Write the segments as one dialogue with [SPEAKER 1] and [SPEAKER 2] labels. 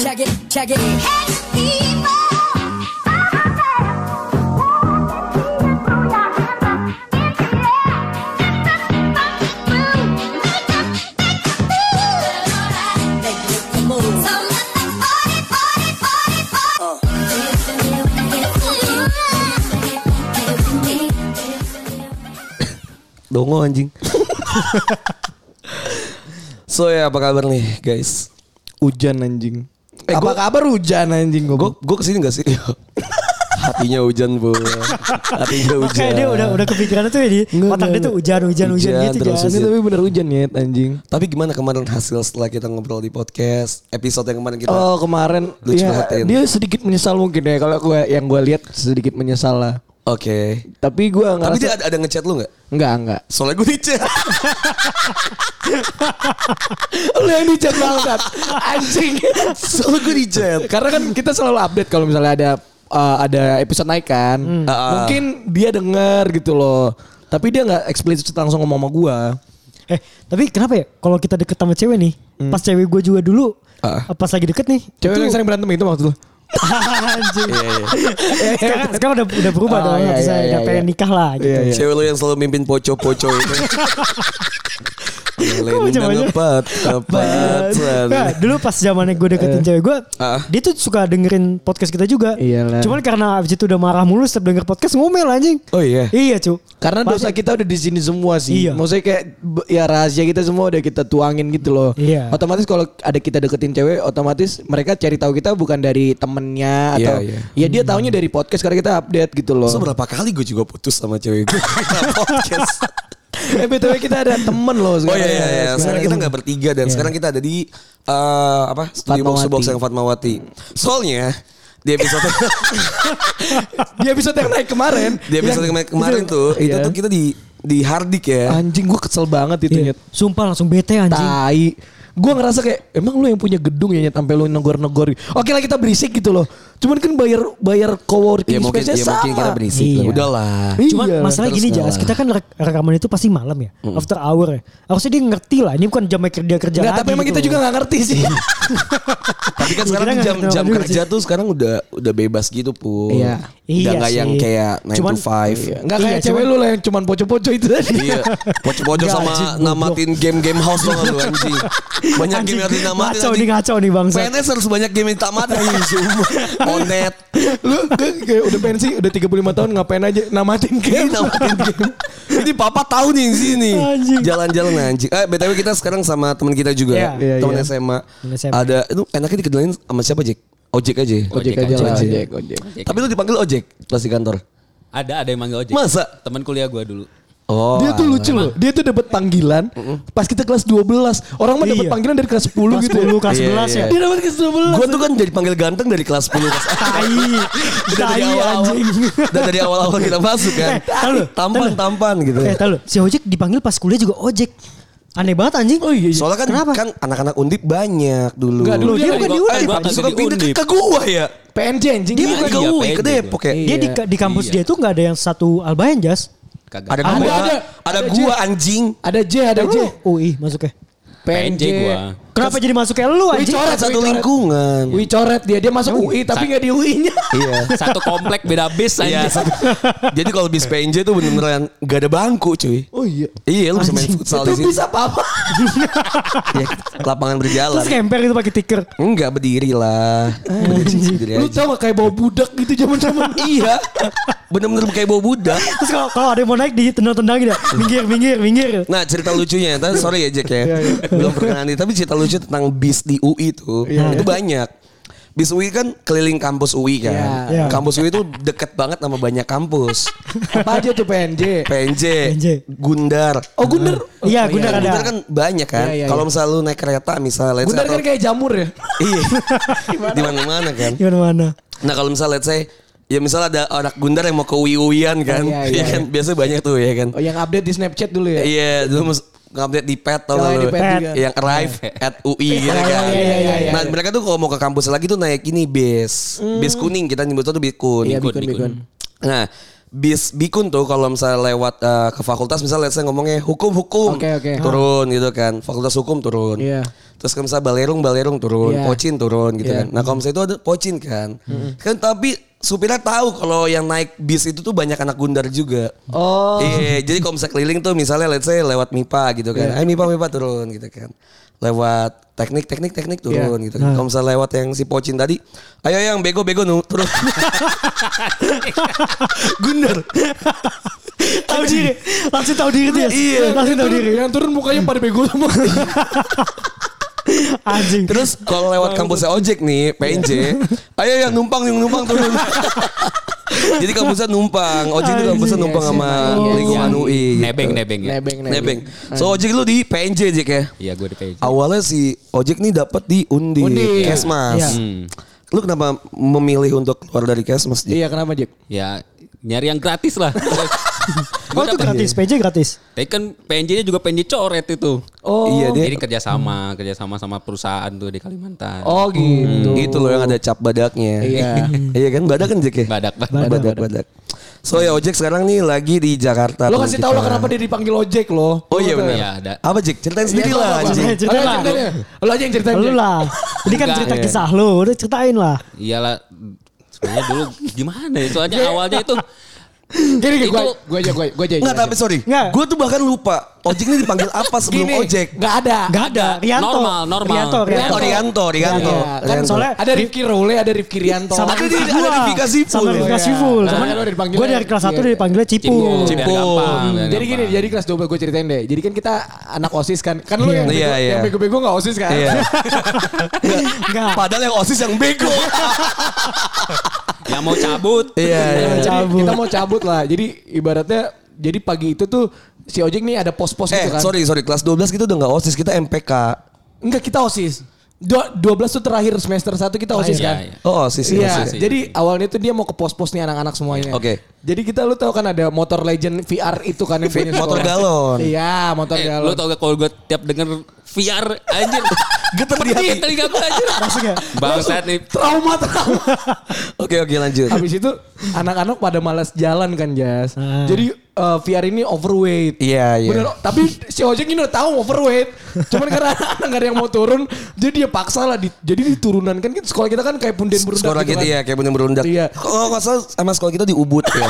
[SPEAKER 1] Check it. Make it the move.
[SPEAKER 2] Dongo anjing. so ya apa kabar nih guys?
[SPEAKER 3] Hujan anjing.
[SPEAKER 2] Eh,
[SPEAKER 3] apa
[SPEAKER 2] gua-
[SPEAKER 3] kabar hujan anjing
[SPEAKER 2] Gue
[SPEAKER 3] goblok?
[SPEAKER 2] gue kesini gak sih? Hatinya hujan bu. Hatinya hujan.
[SPEAKER 4] Kayak dia udah udah kepikiran tuh ya di
[SPEAKER 3] Enggak,
[SPEAKER 4] otak dia
[SPEAKER 3] enggak,
[SPEAKER 4] tuh hujan hujan hujan
[SPEAKER 2] Hujan
[SPEAKER 4] gitu
[SPEAKER 2] terus
[SPEAKER 4] Jan.
[SPEAKER 3] Ini tapi bener hujan ya anjing.
[SPEAKER 2] Tapi gimana kemarin hasil setelah kita ngobrol di podcast episode yang kemarin kita?
[SPEAKER 3] Oh kemarin
[SPEAKER 2] Lu
[SPEAKER 3] ya,
[SPEAKER 2] curhatin.
[SPEAKER 3] dia sedikit menyesal mungkin ya kalau gua yang gue lihat sedikit menyesal lah.
[SPEAKER 2] Oke.
[SPEAKER 3] Tapi gue ngerasa
[SPEAKER 2] Tapi dia ada, ada ngechat lu nggak?
[SPEAKER 3] enggak enggak.
[SPEAKER 2] Soalnya gue dicat.
[SPEAKER 3] Lu yang dicat banget anjing.
[SPEAKER 2] Soalnya gue dicat.
[SPEAKER 3] Karena kan kita selalu update kalau misalnya ada uh, ada episode naik kan.
[SPEAKER 4] Hmm.
[SPEAKER 2] Ah, ah.
[SPEAKER 3] Mungkin dia denger gitu loh. Tapi dia nggak eksplisit langsung ngomong sama gue.
[SPEAKER 4] Eh tapi kenapa ya kalau kita deket sama cewek nih, pas cewek gue juga dulu,
[SPEAKER 2] Ah.
[SPEAKER 4] pas lagi deket nih,
[SPEAKER 3] Hmm. Cewek
[SPEAKER 4] itu-
[SPEAKER 3] yang sering berantem itu waktu itu.
[SPEAKER 4] anjing.
[SPEAKER 2] Iya, iya.
[SPEAKER 4] Ya, sekarang, sekarang udah udah berubah
[SPEAKER 3] Oh,
[SPEAKER 4] dong,
[SPEAKER 3] iya,
[SPEAKER 4] hati saya
[SPEAKER 3] iya,
[SPEAKER 4] udah
[SPEAKER 3] iya,
[SPEAKER 4] pengen
[SPEAKER 3] iya.
[SPEAKER 4] nikah lah gitu.
[SPEAKER 3] Iya, iya.
[SPEAKER 2] Cewek lu yang selalu mimpin poco-poco itu.
[SPEAKER 4] Kok
[SPEAKER 2] Lain
[SPEAKER 4] macam-macam?
[SPEAKER 2] ngepat,
[SPEAKER 4] Nah,
[SPEAKER 2] ngepat.
[SPEAKER 4] dulu pas zamannya gue
[SPEAKER 3] Eh.
[SPEAKER 4] deketin cewek gue,
[SPEAKER 2] Ah.
[SPEAKER 4] dia tuh suka dengerin podcast kita juga.
[SPEAKER 3] Iyalah.
[SPEAKER 4] Cuman karena abis itu udah marah mulu setiap denger podcast ngomel anjing.
[SPEAKER 2] Oh iya.
[SPEAKER 3] Eh.
[SPEAKER 4] Iya cu.
[SPEAKER 3] Karena
[SPEAKER 4] Pas-
[SPEAKER 3] dosa kita udah di sini semua sih.
[SPEAKER 4] Iya.
[SPEAKER 3] Maksudnya kayak b- ya rahasia kita semua udah kita tuangin gitu loh.
[SPEAKER 4] Iya.
[SPEAKER 3] Otomatis kalau ada kita deketin cewek, otomatis mereka cari tahu kita bukan dari
[SPEAKER 2] Iya,
[SPEAKER 3] temennya atau
[SPEAKER 2] iya.
[SPEAKER 3] ya dia taunya dari podcast karena kita update gitu loh.
[SPEAKER 2] So berapa kali gue juga putus sama cewek gue podcast.
[SPEAKER 3] eh btw kita ada temen loh
[SPEAKER 2] Oh
[SPEAKER 3] sekarang.
[SPEAKER 2] iya iya, iya. sekarang kita nggak bertiga dan sekarang kita ada di eh, apa studio box
[SPEAKER 3] Fatmawati.
[SPEAKER 2] box yang Fatmawati. Soalnya di episode
[SPEAKER 3] Di episode yang naik kemarin.
[SPEAKER 2] di episode
[SPEAKER 3] yang-
[SPEAKER 2] kemarin, kemarin
[SPEAKER 3] Iya. itu-
[SPEAKER 2] tuh itu
[SPEAKER 3] iya.
[SPEAKER 2] tuh kita di di Hardik ya.
[SPEAKER 3] Anjing gue kesel banget itu
[SPEAKER 4] Iya.
[SPEAKER 3] nyet.
[SPEAKER 4] Sumpah langsung bete anjing.
[SPEAKER 3] Tai. Gue ngerasa kayak emang lu yang punya gedung ya nyet sampai lu negor-negor. Oke lah kita berisik gitu loh. Cuman kan bayar bayar
[SPEAKER 2] Ya
[SPEAKER 3] co-working
[SPEAKER 2] mungkin
[SPEAKER 3] space-nya
[SPEAKER 2] ya mungkin
[SPEAKER 3] sama.
[SPEAKER 2] kita berisik.
[SPEAKER 4] Iya.
[SPEAKER 2] lah. Udahlah.
[SPEAKER 4] Cuman
[SPEAKER 3] Iya,
[SPEAKER 4] masalah
[SPEAKER 2] terus
[SPEAKER 4] gini
[SPEAKER 2] ngalah.
[SPEAKER 4] jelas kita kan rek- rekaman itu pasti malam ya, after hour ya. Harusnya dia ngerti lah, ini bukan jam kerja kerja.
[SPEAKER 3] Nggak, tapi emang
[SPEAKER 4] gitu.
[SPEAKER 3] kita juga gak ngerti sih.
[SPEAKER 2] Tapi kan
[SPEAKER 4] Iya,
[SPEAKER 2] sekarang
[SPEAKER 4] kita
[SPEAKER 2] jam
[SPEAKER 4] nggak
[SPEAKER 2] jam
[SPEAKER 4] tahu juga
[SPEAKER 2] kerja tuh sekarang udah udah bebas gitu pun.
[SPEAKER 3] Iya.
[SPEAKER 2] Udah
[SPEAKER 4] Iya
[SPEAKER 2] nggak yang
[SPEAKER 4] sih.
[SPEAKER 2] kayak 9
[SPEAKER 4] Cuman-
[SPEAKER 2] to 5.
[SPEAKER 3] Enggak kayak
[SPEAKER 4] Iya,
[SPEAKER 3] cewek
[SPEAKER 4] cuman-
[SPEAKER 3] lu lah yang cuman poco-poco itu tadi.
[SPEAKER 2] Iya, pojok-pojok sama
[SPEAKER 4] Anjing, goblok.
[SPEAKER 2] namatin game-game house dong lu anjing. Banyak game yang dinamatin
[SPEAKER 4] Ngaco nih ngaco nih bangsa.
[SPEAKER 2] PNS harus banyak game yang tamat
[SPEAKER 4] Iya,
[SPEAKER 2] anjing. Sumpah. Monet.
[SPEAKER 3] lu lu kayak udah pensi, udah 35 tahun ngapain aja namatin
[SPEAKER 2] Ini
[SPEAKER 4] Iya,
[SPEAKER 3] game.
[SPEAKER 2] namatin game. Ini papa tahu nih di sini.
[SPEAKER 4] Anjing.
[SPEAKER 2] Jalan-jalan anjing. Eh BTW kita sekarang sama teman kita juga.
[SPEAKER 4] Iya.
[SPEAKER 3] Iya,
[SPEAKER 2] Teman
[SPEAKER 3] iya.
[SPEAKER 2] SMA.
[SPEAKER 4] Teman SMA.
[SPEAKER 2] Ada itu enaknya dikenalin sama siapa, Jack? Ojek aja.
[SPEAKER 3] Ojek aja lah, ojek, ojek.
[SPEAKER 2] Tapi lu dipanggil Ojek pas di kantor.
[SPEAKER 5] Ada ada yang manggil ojek.
[SPEAKER 2] Masa?
[SPEAKER 5] Teman kuliah gua dulu.
[SPEAKER 2] Oh.
[SPEAKER 3] Dia tuh lucu loh. Dia tuh dapat panggilan pas kita kelas 12. Orang mah dapat
[SPEAKER 4] Iya.
[SPEAKER 3] panggilan dari kelas 10
[SPEAKER 4] Kelas
[SPEAKER 3] gitu. ya.
[SPEAKER 4] 10, kelas
[SPEAKER 2] Iya,
[SPEAKER 4] 11
[SPEAKER 2] iya.
[SPEAKER 4] ya.
[SPEAKER 3] Dia dapat kelas 12.
[SPEAKER 2] Gue tuh kan jadi panggil ganteng dari kelas 10 pas
[SPEAKER 4] Tai,
[SPEAKER 2] Udah dari
[SPEAKER 4] tai
[SPEAKER 2] awal-awal.
[SPEAKER 4] anjing.
[SPEAKER 2] Udah dari awal-awal kita masuk kan.
[SPEAKER 4] Eh, tahu lu,
[SPEAKER 2] Tampan,
[SPEAKER 4] tahu lu.
[SPEAKER 2] tampan gitu.
[SPEAKER 4] Eh tahu lu, si ojek dipanggil pas kuliah juga ojek. Aneh banget anjing. Oh iya.
[SPEAKER 2] Soalnya kan
[SPEAKER 4] kenapa?
[SPEAKER 2] kan anak-anak undip banyak dulu.
[SPEAKER 3] Enggak dulu
[SPEAKER 4] Dia
[SPEAKER 3] dia
[SPEAKER 4] bukan
[SPEAKER 3] bukan
[SPEAKER 4] di
[SPEAKER 5] Eh,
[SPEAKER 3] diundip.
[SPEAKER 5] gua
[SPEAKER 2] Habis itu kan
[SPEAKER 5] di
[SPEAKER 2] pindah ke,
[SPEAKER 5] Undip.
[SPEAKER 2] ke gua ya.
[SPEAKER 3] PNJ anjing.
[SPEAKER 2] Dia
[SPEAKER 3] Iya,
[SPEAKER 2] bukan ke
[SPEAKER 5] iya,
[SPEAKER 2] UI, ke
[SPEAKER 5] pendek.
[SPEAKER 2] Depok ya.
[SPEAKER 4] dia di, di kampus dia
[SPEAKER 5] Iya.
[SPEAKER 4] tuh nggak ada yang satu Albayan jas.
[SPEAKER 5] Kagak.
[SPEAKER 2] Ada
[SPEAKER 5] Ada
[SPEAKER 2] gua,
[SPEAKER 3] ada.
[SPEAKER 2] ada,
[SPEAKER 3] Ada
[SPEAKER 2] gua
[SPEAKER 3] J.
[SPEAKER 2] anjing.
[SPEAKER 3] Ada J, ada J.
[SPEAKER 4] Lu UI masuknya.
[SPEAKER 5] PNJ gua.
[SPEAKER 4] Kenapa jadi masuknya lu
[SPEAKER 3] Wih
[SPEAKER 4] anjing?
[SPEAKER 3] coret
[SPEAKER 2] Satu
[SPEAKER 3] wih, coret.
[SPEAKER 2] lingkungan.
[SPEAKER 3] Wih coret dia dia masuk UI tapi nggak di UI-nya.
[SPEAKER 2] Iya.
[SPEAKER 5] Satu komplek beda bis
[SPEAKER 2] Iya.
[SPEAKER 5] aja.
[SPEAKER 2] satu- Jadi kalau bis PNJ tuh bener-bener yang gak ada bangku cuy.
[SPEAKER 3] Oh iya.
[SPEAKER 2] Iya lu bisa main futsal di
[SPEAKER 3] Itu
[SPEAKER 2] sini.
[SPEAKER 3] bisa apa-apa.
[SPEAKER 2] Ya, lapangan berjalan.
[SPEAKER 4] Terus ngemper itu pakai tiker.
[SPEAKER 2] Enggak berdiri lah. Berdiri berdiri
[SPEAKER 3] Lu
[SPEAKER 2] aja.
[SPEAKER 3] tau gak kayak bawa budak gitu zaman-zaman
[SPEAKER 2] Iya. Bener-bener kayak bawa budak.
[SPEAKER 4] Terus kalau kalau ada yang mau naik ditendang-tendangin ya. Minggir, minggir, minggir.
[SPEAKER 2] Nah cerita lucunya, tapi sorry ya Jack ya,
[SPEAKER 3] Iya,
[SPEAKER 2] belum perkenalan diri. Tapi cerita lucu tentang bis di UI itu,
[SPEAKER 3] Iya,
[SPEAKER 2] itu banyak. Bis UI kan keliling kampus UI kan.
[SPEAKER 4] Iya.
[SPEAKER 2] Kampus UI itu deket banget sama banyak kampus.
[SPEAKER 3] Apa aja tuh PNJ?
[SPEAKER 2] PNJ,
[SPEAKER 4] PNJ.
[SPEAKER 2] Gundar.
[SPEAKER 3] Oh Gunder. Oh,
[SPEAKER 4] Iya, Gundar ada.
[SPEAKER 2] Gundar kan banyak kan.
[SPEAKER 3] Iya, iya,
[SPEAKER 2] Kalau
[SPEAKER 3] iya.
[SPEAKER 2] misalnya lu naik kereta misalnya. let's say
[SPEAKER 3] Gundar kan
[SPEAKER 2] atau-
[SPEAKER 3] kayak jamur ya.
[SPEAKER 2] Iya. di mana-mana kan.
[SPEAKER 4] Gimana Iya, mana?
[SPEAKER 2] Nah kalau misalnya let's say, ya misalnya ada anak Gundar yang mau ke UI-UIan kan.
[SPEAKER 3] Iya,
[SPEAKER 2] Iya
[SPEAKER 3] iya,
[SPEAKER 2] kan. Biasanya banyak tuh ya kan.
[SPEAKER 3] Oh yang update di Snapchat dulu ya.
[SPEAKER 2] Iya, dulu mas ngupdate di pet tau
[SPEAKER 3] Oh,
[SPEAKER 2] gak
[SPEAKER 3] di
[SPEAKER 2] lu?
[SPEAKER 3] pet juga.
[SPEAKER 2] yang arrive at UI gitu
[SPEAKER 3] Iya,
[SPEAKER 2] kan.
[SPEAKER 3] iya, iya, iya, iya.
[SPEAKER 2] Nah mereka tuh kalau mau ke kampus lagi tuh naik ini bis, bis kuning kita nyebutnya tuh bis kuning.
[SPEAKER 3] Iya, bikun, bikun.
[SPEAKER 2] Nah bis bikun tuh kalau misalnya lewat eh, ke fakultas misalnya saya ngomongnya hukum hukum
[SPEAKER 3] Oke, oke.
[SPEAKER 2] turun gitu kan fakultas hukum turun
[SPEAKER 3] Iya.
[SPEAKER 2] Terus kalau misalnya balerung, balerung turun,
[SPEAKER 3] Iya.
[SPEAKER 2] pocin turun gitu
[SPEAKER 3] Iya.
[SPEAKER 2] kan. Nah kalau misalnya itu ada pocin kan. Kan tapi supirnya tahu kalau yang naik bis itu tuh banyak anak gundar juga.
[SPEAKER 3] Oh.
[SPEAKER 2] Iya, jadi kalau misalnya keliling tuh misalnya let's say lewat MIPA gitu kan.
[SPEAKER 3] Iya.
[SPEAKER 2] Ayo MIPA, MIPA turun gitu kan. Lewat teknik, teknik,
[SPEAKER 3] Iya.
[SPEAKER 2] teknik turun gitu
[SPEAKER 3] Nah.
[SPEAKER 2] kan. Kalau misalnya lewat yang si pocin tadi, ayo yang bego, bego nu- turun.
[SPEAKER 3] Gundar.
[SPEAKER 4] tahu diri langsung tahu diri dia
[SPEAKER 2] Iya.
[SPEAKER 4] langsung tahu diri
[SPEAKER 3] Yang turun mukanya pada bego semua.
[SPEAKER 4] anjing
[SPEAKER 2] Terus kalau lewat kampusnya ojek nih,
[SPEAKER 3] Iya.
[SPEAKER 2] PNJ, ayo yang numpang, yang numpang turun. Jadi kampusnya numpang, ojek itu kampusnya
[SPEAKER 4] Anjing,
[SPEAKER 2] numpang
[SPEAKER 3] iya
[SPEAKER 2] sama
[SPEAKER 3] sih, iya,
[SPEAKER 2] lingkungan
[SPEAKER 5] iya.
[SPEAKER 2] UI. gitu.
[SPEAKER 5] Nebeng, nebeng ya.
[SPEAKER 3] Nebeng,
[SPEAKER 2] Nebeng. So ojek lu di PNJ Jack ya.
[SPEAKER 5] Iya gue di PJ.
[SPEAKER 2] Awalnya si ojek nih dapat di Undi,
[SPEAKER 3] Undi.
[SPEAKER 2] Kesmas.
[SPEAKER 4] Iya.
[SPEAKER 5] Hmm.
[SPEAKER 2] Lu kenapa memilih untuk keluar dari Kesmas? Jack?
[SPEAKER 3] Iya kenapa Jack?
[SPEAKER 5] Ya nyari yang gratis lah.
[SPEAKER 4] oh itu gratis PJ gratis
[SPEAKER 5] Tapi kan PNJ-nya juga PNJ coret itu.
[SPEAKER 3] Oh,
[SPEAKER 2] Iya dia.
[SPEAKER 5] Jadi kerjasama, kerjasama sama perusahaan tuh di Kalimantan.
[SPEAKER 3] Oh gitu.
[SPEAKER 2] Gitu loh yang ada cap badaknya.
[SPEAKER 3] Iya.
[SPEAKER 2] iya kan badak kan Jack ya?
[SPEAKER 5] Badak, badak.
[SPEAKER 2] Badak, badak. So ya ojek sekarang nih lagi di Jakarta.
[SPEAKER 3] Lo
[SPEAKER 2] teman
[SPEAKER 3] kasih tahu lah
[SPEAKER 2] kita.
[SPEAKER 3] kenapa dia dipanggil ojek lo.
[SPEAKER 2] Oh iya benar.
[SPEAKER 5] Iya, ada.
[SPEAKER 2] Apa Jack? Ceritain sendiri
[SPEAKER 3] Iya,
[SPEAKER 2] lah
[SPEAKER 3] apa-apa.
[SPEAKER 2] anjing.
[SPEAKER 4] Cerita
[SPEAKER 3] Ayo,
[SPEAKER 4] lah.
[SPEAKER 3] ceritanya. Lo aja yang ceritain.
[SPEAKER 4] lu
[SPEAKER 3] Jack.
[SPEAKER 4] lah ini kan
[SPEAKER 5] Enggak,
[SPEAKER 4] cerita
[SPEAKER 5] iya.
[SPEAKER 4] kisah lu udah ceritain lah
[SPEAKER 5] Iyalah sebenarnya dulu gimana ya? Soalnya
[SPEAKER 2] Iya.
[SPEAKER 5] awalnya itu
[SPEAKER 3] Gini gini gue
[SPEAKER 5] Itu-
[SPEAKER 3] gue aja gue gue aja.
[SPEAKER 2] Enggak tapi sorry.
[SPEAKER 4] Nggak.
[SPEAKER 2] Gue tuh bahkan lupa ojek ini dipanggil apa sebelum ojek.
[SPEAKER 3] Enggak ada.
[SPEAKER 4] Gak ada. Rianto.
[SPEAKER 5] Normal, normal.
[SPEAKER 4] Rianto, Rianto.
[SPEAKER 2] Oh, Rianto, Rianto.
[SPEAKER 3] Iya, kan
[SPEAKER 2] Rianto.
[SPEAKER 4] soalnya-
[SPEAKER 3] Ada Rifki Role, ada Rifki Rianto.
[SPEAKER 4] Sama
[SPEAKER 2] Tapi
[SPEAKER 4] kayak
[SPEAKER 2] dia ada
[SPEAKER 4] gua.
[SPEAKER 2] di Vika Sipul.
[SPEAKER 4] Sama di
[SPEAKER 3] Oh,
[SPEAKER 4] Vika
[SPEAKER 3] iya.
[SPEAKER 4] Sipul.
[SPEAKER 3] Nah,
[SPEAKER 4] Cuman
[SPEAKER 3] lo dipanggilnya-
[SPEAKER 4] gue dari kelas 1
[SPEAKER 3] iya.
[SPEAKER 4] udah dipanggilnya Cipul.
[SPEAKER 5] Cipul.
[SPEAKER 2] Cipul.
[SPEAKER 3] Jadi gini, jadi kelas 12 gue ceritain deh. Jadi kan kita anak OSIS kan. Kan lu
[SPEAKER 4] Iya.
[SPEAKER 3] yang bego-
[SPEAKER 2] Iya, iya.
[SPEAKER 3] yang bego-bego enggak OSIS kan?
[SPEAKER 2] Iya.
[SPEAKER 4] Enggak.
[SPEAKER 2] Padahal yang OSIS yang bego.
[SPEAKER 5] yang mau cabut.
[SPEAKER 2] Iya, iya.
[SPEAKER 3] Jadi
[SPEAKER 4] Cabut.
[SPEAKER 3] kita mau cabut lah. Jadi ibaratnya jadi pagi itu tuh si ojek nih ada pos-pos
[SPEAKER 2] Eh,
[SPEAKER 3] gitu kan.
[SPEAKER 2] sorry, sorry. Kelas 12 kita udah nggak OSIS, kita MPK.
[SPEAKER 3] Enggak kita OSIS. Dua- 12 tuh terakhir semester 1 kita OSIS
[SPEAKER 5] Iya,
[SPEAKER 3] kan.
[SPEAKER 5] iya.
[SPEAKER 2] Oh, OSIS.
[SPEAKER 3] Iya,
[SPEAKER 2] OSIS.
[SPEAKER 5] sih.
[SPEAKER 3] jadi awalnya tuh dia mau ke pos-pos nih anak-anak semuanya.
[SPEAKER 2] Oke.
[SPEAKER 3] Jadi kita lu tahu kan ada motor legend VR itu kan yang punya
[SPEAKER 2] Motor
[SPEAKER 3] sekolah.
[SPEAKER 2] galon.
[SPEAKER 3] Iya, motor
[SPEAKER 5] Eh,
[SPEAKER 3] galon.
[SPEAKER 5] lu tau gak kalau gue tiap denger VR anjir.
[SPEAKER 2] Getar di
[SPEAKER 5] Pedih
[SPEAKER 2] hati.
[SPEAKER 5] telinga gue anjir.
[SPEAKER 4] Langsung ya.
[SPEAKER 5] Bangsat nih.
[SPEAKER 3] Trauma trauma.
[SPEAKER 2] Oke, oke lanjut.
[SPEAKER 3] Habis itu anak-anak pada malas jalan kan, Jas.
[SPEAKER 4] Ah.
[SPEAKER 3] Jadi eh, VR ini overweight.
[SPEAKER 2] Iya, iya.
[SPEAKER 3] Bener, oh, tapi si ojek ini udah tahu overweight. Cuman karena anak-anak gak ada yang mau turun, jadi dia paksa lah. Di- jadi diturunan kan kita- sekolah kita kan kayak punden berundak
[SPEAKER 2] Sekolah
[SPEAKER 3] gitu
[SPEAKER 2] kita
[SPEAKER 3] kan.
[SPEAKER 2] iya kayak bener berundak.
[SPEAKER 3] Iya.
[SPEAKER 2] Kalau nggak salah sama sekolah kita di Ubud ya.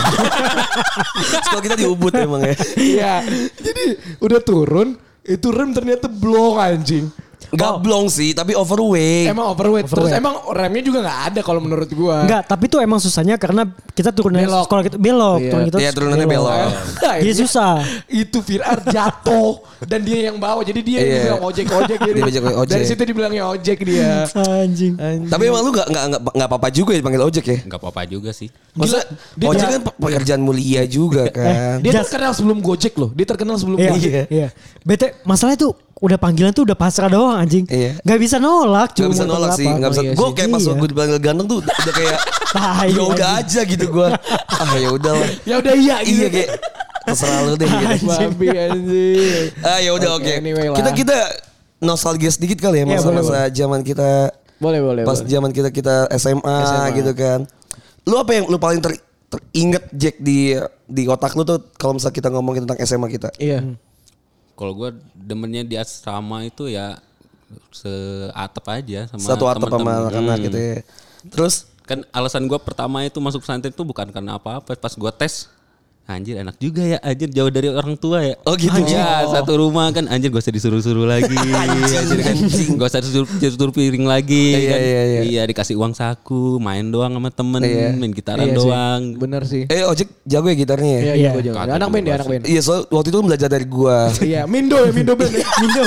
[SPEAKER 2] sekolah kita di Ubud emang ya.
[SPEAKER 3] Iya. Jadi udah turun, itu rem ternyata blong anjing.
[SPEAKER 2] Gablong sih, tapi Iya. overweight.
[SPEAKER 3] Emang overweight. Terus
[SPEAKER 4] Overweight.
[SPEAKER 3] emang remnya juga nggak ada kalau menurut gua.
[SPEAKER 4] Enggak, tapi itu emang susahnya karena kita turun dari
[SPEAKER 3] Belok.
[SPEAKER 4] sekolah kita belok,
[SPEAKER 3] Iya.
[SPEAKER 4] turun kita
[SPEAKER 2] Iya, turunannya belok. Iya
[SPEAKER 4] Jadi susah.
[SPEAKER 3] Itu Firar jatuh dan dia yang bawa. Jadi dia yang
[SPEAKER 2] Iya.
[SPEAKER 3] bilang ojek ojek gitu.
[SPEAKER 2] Dia bilang ojek.
[SPEAKER 3] Dari situ dibilangnya ojek dia.
[SPEAKER 4] Anjing.
[SPEAKER 2] Tapi emang lu gak, nggak nggak nggak apa-apa juga ya dipanggil ojek ya?
[SPEAKER 5] Gak apa-apa juga sih.
[SPEAKER 2] Maksudnya
[SPEAKER 3] dia- Eh,
[SPEAKER 2] ojek kan pe- pekerjaan mulia juga kan.
[SPEAKER 3] Dia
[SPEAKER 4] Jas.
[SPEAKER 3] terkenal sebelum Gojek loh. Dia terkenal sebelum
[SPEAKER 4] Iya.
[SPEAKER 3] Gojek.
[SPEAKER 4] Iya. Bete, masalah itu udah panggilan tuh udah pasrah doang anjing.
[SPEAKER 2] Iya.
[SPEAKER 4] Gak bisa nolak.
[SPEAKER 2] Gak
[SPEAKER 4] cuma
[SPEAKER 2] bisa
[SPEAKER 4] mau
[SPEAKER 2] nolak
[SPEAKER 4] berapa.
[SPEAKER 2] sih, gak bisa.
[SPEAKER 4] Iya
[SPEAKER 2] Gue
[SPEAKER 4] sih.
[SPEAKER 2] kayak pas
[SPEAKER 4] Iya.
[SPEAKER 2] gue dipanggil ganteng tuh udah kayak
[SPEAKER 4] Tai,
[SPEAKER 2] ya udah
[SPEAKER 4] anjing.
[SPEAKER 2] aja gitu gue. Ah ya udahlah.
[SPEAKER 3] Ya udah iya gitu.
[SPEAKER 2] Iya kayak terserah lu deh. gitu.
[SPEAKER 3] Babi anjing.
[SPEAKER 2] Ah ya udah oke.
[SPEAKER 3] anyway lah.
[SPEAKER 2] Kita kita nostalgia sedikit kali ya
[SPEAKER 4] Iya,
[SPEAKER 2] masa-masa zaman kita
[SPEAKER 3] Boleh boleh.
[SPEAKER 2] pas
[SPEAKER 3] boleh.
[SPEAKER 2] zaman kita kita SMA, gitu kan. Lu apa yang lu paling ter- teringat Jack di di otak lu tuh kalau misalnya kita ngomongin tentang SMA kita?
[SPEAKER 3] Iya.
[SPEAKER 5] Kalau gue demennya di asrama itu ya seatap aja sama
[SPEAKER 2] Satu atap sama
[SPEAKER 5] temen-temen.
[SPEAKER 2] anak-anak
[SPEAKER 5] Hmm.
[SPEAKER 2] gitu ya. Terus
[SPEAKER 5] Kan alasan gue pertama itu masuk pesantren itu bukan karena apa-apa. Pas gue tes, anjir enak juga ya anjir jauh dari orang tua ya.
[SPEAKER 2] Oh, gitu.
[SPEAKER 5] Ya satu rumah kan anjir gak usah disuruh-suruh lagi. anjir kan gak usah disuruh, disuruh piring lagi.
[SPEAKER 2] Iya,
[SPEAKER 5] kan.
[SPEAKER 2] iya, iya.
[SPEAKER 5] Iya, dikasih uang saku, main doang sama temen,
[SPEAKER 2] Iya.
[SPEAKER 5] main gitaran
[SPEAKER 3] Iya sih.
[SPEAKER 5] doang.
[SPEAKER 3] Bener sih.
[SPEAKER 2] eh ojek jago ya gitarnya ya?
[SPEAKER 3] Iya
[SPEAKER 4] Iya.
[SPEAKER 3] iya. gua jago.
[SPEAKER 5] Kagak
[SPEAKER 3] Anak band
[SPEAKER 5] juga
[SPEAKER 3] ya anak band.
[SPEAKER 2] Iya, soal waktu itu lu belajar dari gua.
[SPEAKER 3] Iya, Mindo ya, Mindo band. ya. Mindo.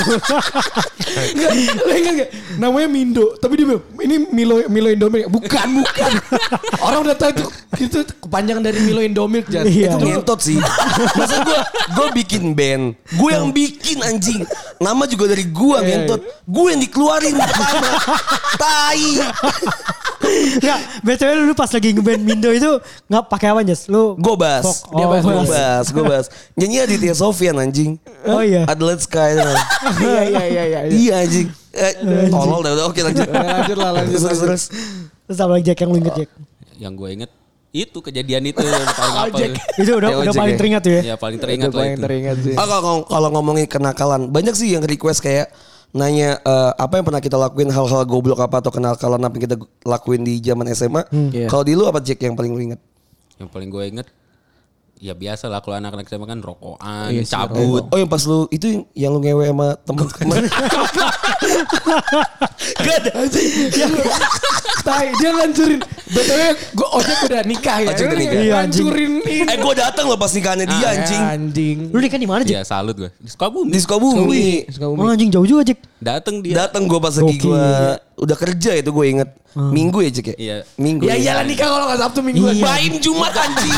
[SPEAKER 3] Enggak, lo ingat gak? Namanya Mindo, tapi dia bilang, ini Milo Milo Indomilk. Bukan, bukan. Orang udah tahu itu itu kepanjangan dari Milo Indomilk, Jan.
[SPEAKER 4] Iya.
[SPEAKER 2] Itu ngentot sih. Masa gua gua bikin band, gua yang bikin anjing. Nama juga dari gua ngentot. Gua yang dikeluarin pertama. Tai.
[SPEAKER 4] Enggak, BTW lu dulu pas lagi ngeband Mindo itu nggak pakai apa Jas? Lu
[SPEAKER 2] Gobas.
[SPEAKER 4] Fok-
[SPEAKER 3] Dia
[SPEAKER 4] Oh,
[SPEAKER 3] bahas
[SPEAKER 4] gobas.
[SPEAKER 2] Gobas, gobas. Nyanyi Aditya Sofian anjing.
[SPEAKER 4] Oh iya.
[SPEAKER 2] Adelaide Sky. nah.
[SPEAKER 3] Iya, iya, iya, iya. iya.
[SPEAKER 2] Iya anjing. Eh, tolol dah udah oke lanjut.
[SPEAKER 3] Eh, Lanjut lah, lanjut.
[SPEAKER 2] Terus
[SPEAKER 3] lanjut.
[SPEAKER 2] terus.
[SPEAKER 4] Terus apa lagi Jack yang lu inget Jack?
[SPEAKER 5] yang gue inget itu kejadian itu yang paling apa
[SPEAKER 3] Ojek.
[SPEAKER 4] Itu udah
[SPEAKER 2] Ya,
[SPEAKER 4] udah
[SPEAKER 2] ojek
[SPEAKER 4] paling
[SPEAKER 2] ya.
[SPEAKER 4] teringat tuh ya.
[SPEAKER 5] ya paling teringat
[SPEAKER 3] Itu
[SPEAKER 5] lah
[SPEAKER 2] Iya.
[SPEAKER 3] paling
[SPEAKER 5] itu
[SPEAKER 3] teringat sih.
[SPEAKER 2] Ah, kalau kalau ngomongin kenakalan, banyak sih yang request kayak nanya eh, apa yang pernah kita lakuin hal-hal goblok apa atau kenakalan apa yang kita lakuin di zaman SMA.
[SPEAKER 3] Iya.
[SPEAKER 2] Kalau di lu apa Jack yang paling lu inget?
[SPEAKER 5] Yang paling gue inget ya biasa lah kalau anak-anak SMA kan rokokan, cabut.
[SPEAKER 2] Oh yang pas lu itu yang- yang lu ngewe sama temen-temen.
[SPEAKER 3] Gak ada Yang Tai dia ngancurin BTW gue ojek udah nikah ya
[SPEAKER 2] Ojek udah
[SPEAKER 3] Ini
[SPEAKER 2] nikah.
[SPEAKER 4] Iya, anjing.
[SPEAKER 3] Ngancurin ini
[SPEAKER 2] eh gue datang loh pas nikahannya dia
[SPEAKER 3] Ah,
[SPEAKER 2] anjing.
[SPEAKER 3] Anjing
[SPEAKER 4] Lu nikah di mana, Jack?
[SPEAKER 5] Ya salut gue. Di sekolah
[SPEAKER 2] Di
[SPEAKER 5] bumi.
[SPEAKER 2] Sukabumi.
[SPEAKER 4] Oh, anjing jauh juga, Jack.
[SPEAKER 5] Dateng dia.
[SPEAKER 2] Datang gue pas lagi
[SPEAKER 4] Gokil.
[SPEAKER 2] gue udah kerja itu gue inget. Minggu ya Jack ya?
[SPEAKER 5] Iya.
[SPEAKER 2] Minggu.
[SPEAKER 3] Ya iyalah nikah kalau gak Sabtu mingguan
[SPEAKER 4] Iya.
[SPEAKER 2] Baim Jumat anjing.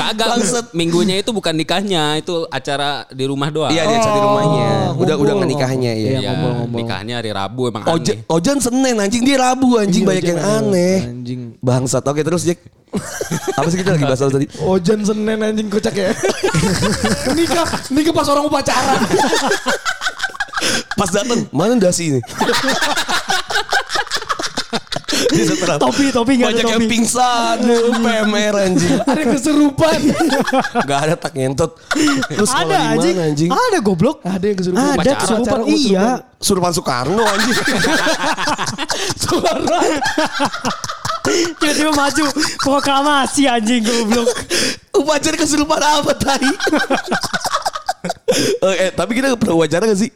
[SPEAKER 5] Kagak
[SPEAKER 2] Bangset.
[SPEAKER 5] minggunya itu bukan nikahnya, itu acara di rumah doang.
[SPEAKER 2] Iya dia cari rumahnya. Udah udah nggak nikahnya ya.
[SPEAKER 5] Iya, nikahnya hari Rabu emang
[SPEAKER 2] Ojan,
[SPEAKER 5] aneh.
[SPEAKER 2] Ojan Senin anjing dia Iya, Rabu anjing banyak yang aneh.
[SPEAKER 3] Anjing
[SPEAKER 2] Bangsat. Oke terus Jack. Apa sih kita lagi bahas lu tadi?
[SPEAKER 3] Ojan Senin anjing kocak ya Nikah Nikah pas orang mau pacaran
[SPEAKER 2] Pas datang mana dasi ini? Dia setelah
[SPEAKER 4] Topi, topi enggak ada
[SPEAKER 2] banyak yang
[SPEAKER 4] topi.
[SPEAKER 2] pingsan, PMR anjing.
[SPEAKER 3] Ada keserupan
[SPEAKER 2] Gak ada tak ngentut. Terus
[SPEAKER 4] Ada
[SPEAKER 2] sekolah di
[SPEAKER 4] anjing.
[SPEAKER 2] mana anjing?
[SPEAKER 4] Ada goblok.
[SPEAKER 3] Ada yang kesurupan
[SPEAKER 4] Ada
[SPEAKER 5] Pacaran.
[SPEAKER 4] kesurupan.
[SPEAKER 3] Pacaran,
[SPEAKER 4] Iya.
[SPEAKER 2] Surupan Soekarno anjing.
[SPEAKER 3] Suara
[SPEAKER 4] Tiba-tiba maju proklamasi anjing goblok.
[SPEAKER 2] Upacara kesurupan apa tadi? eh, tapi kita pernah wawancara gak sih?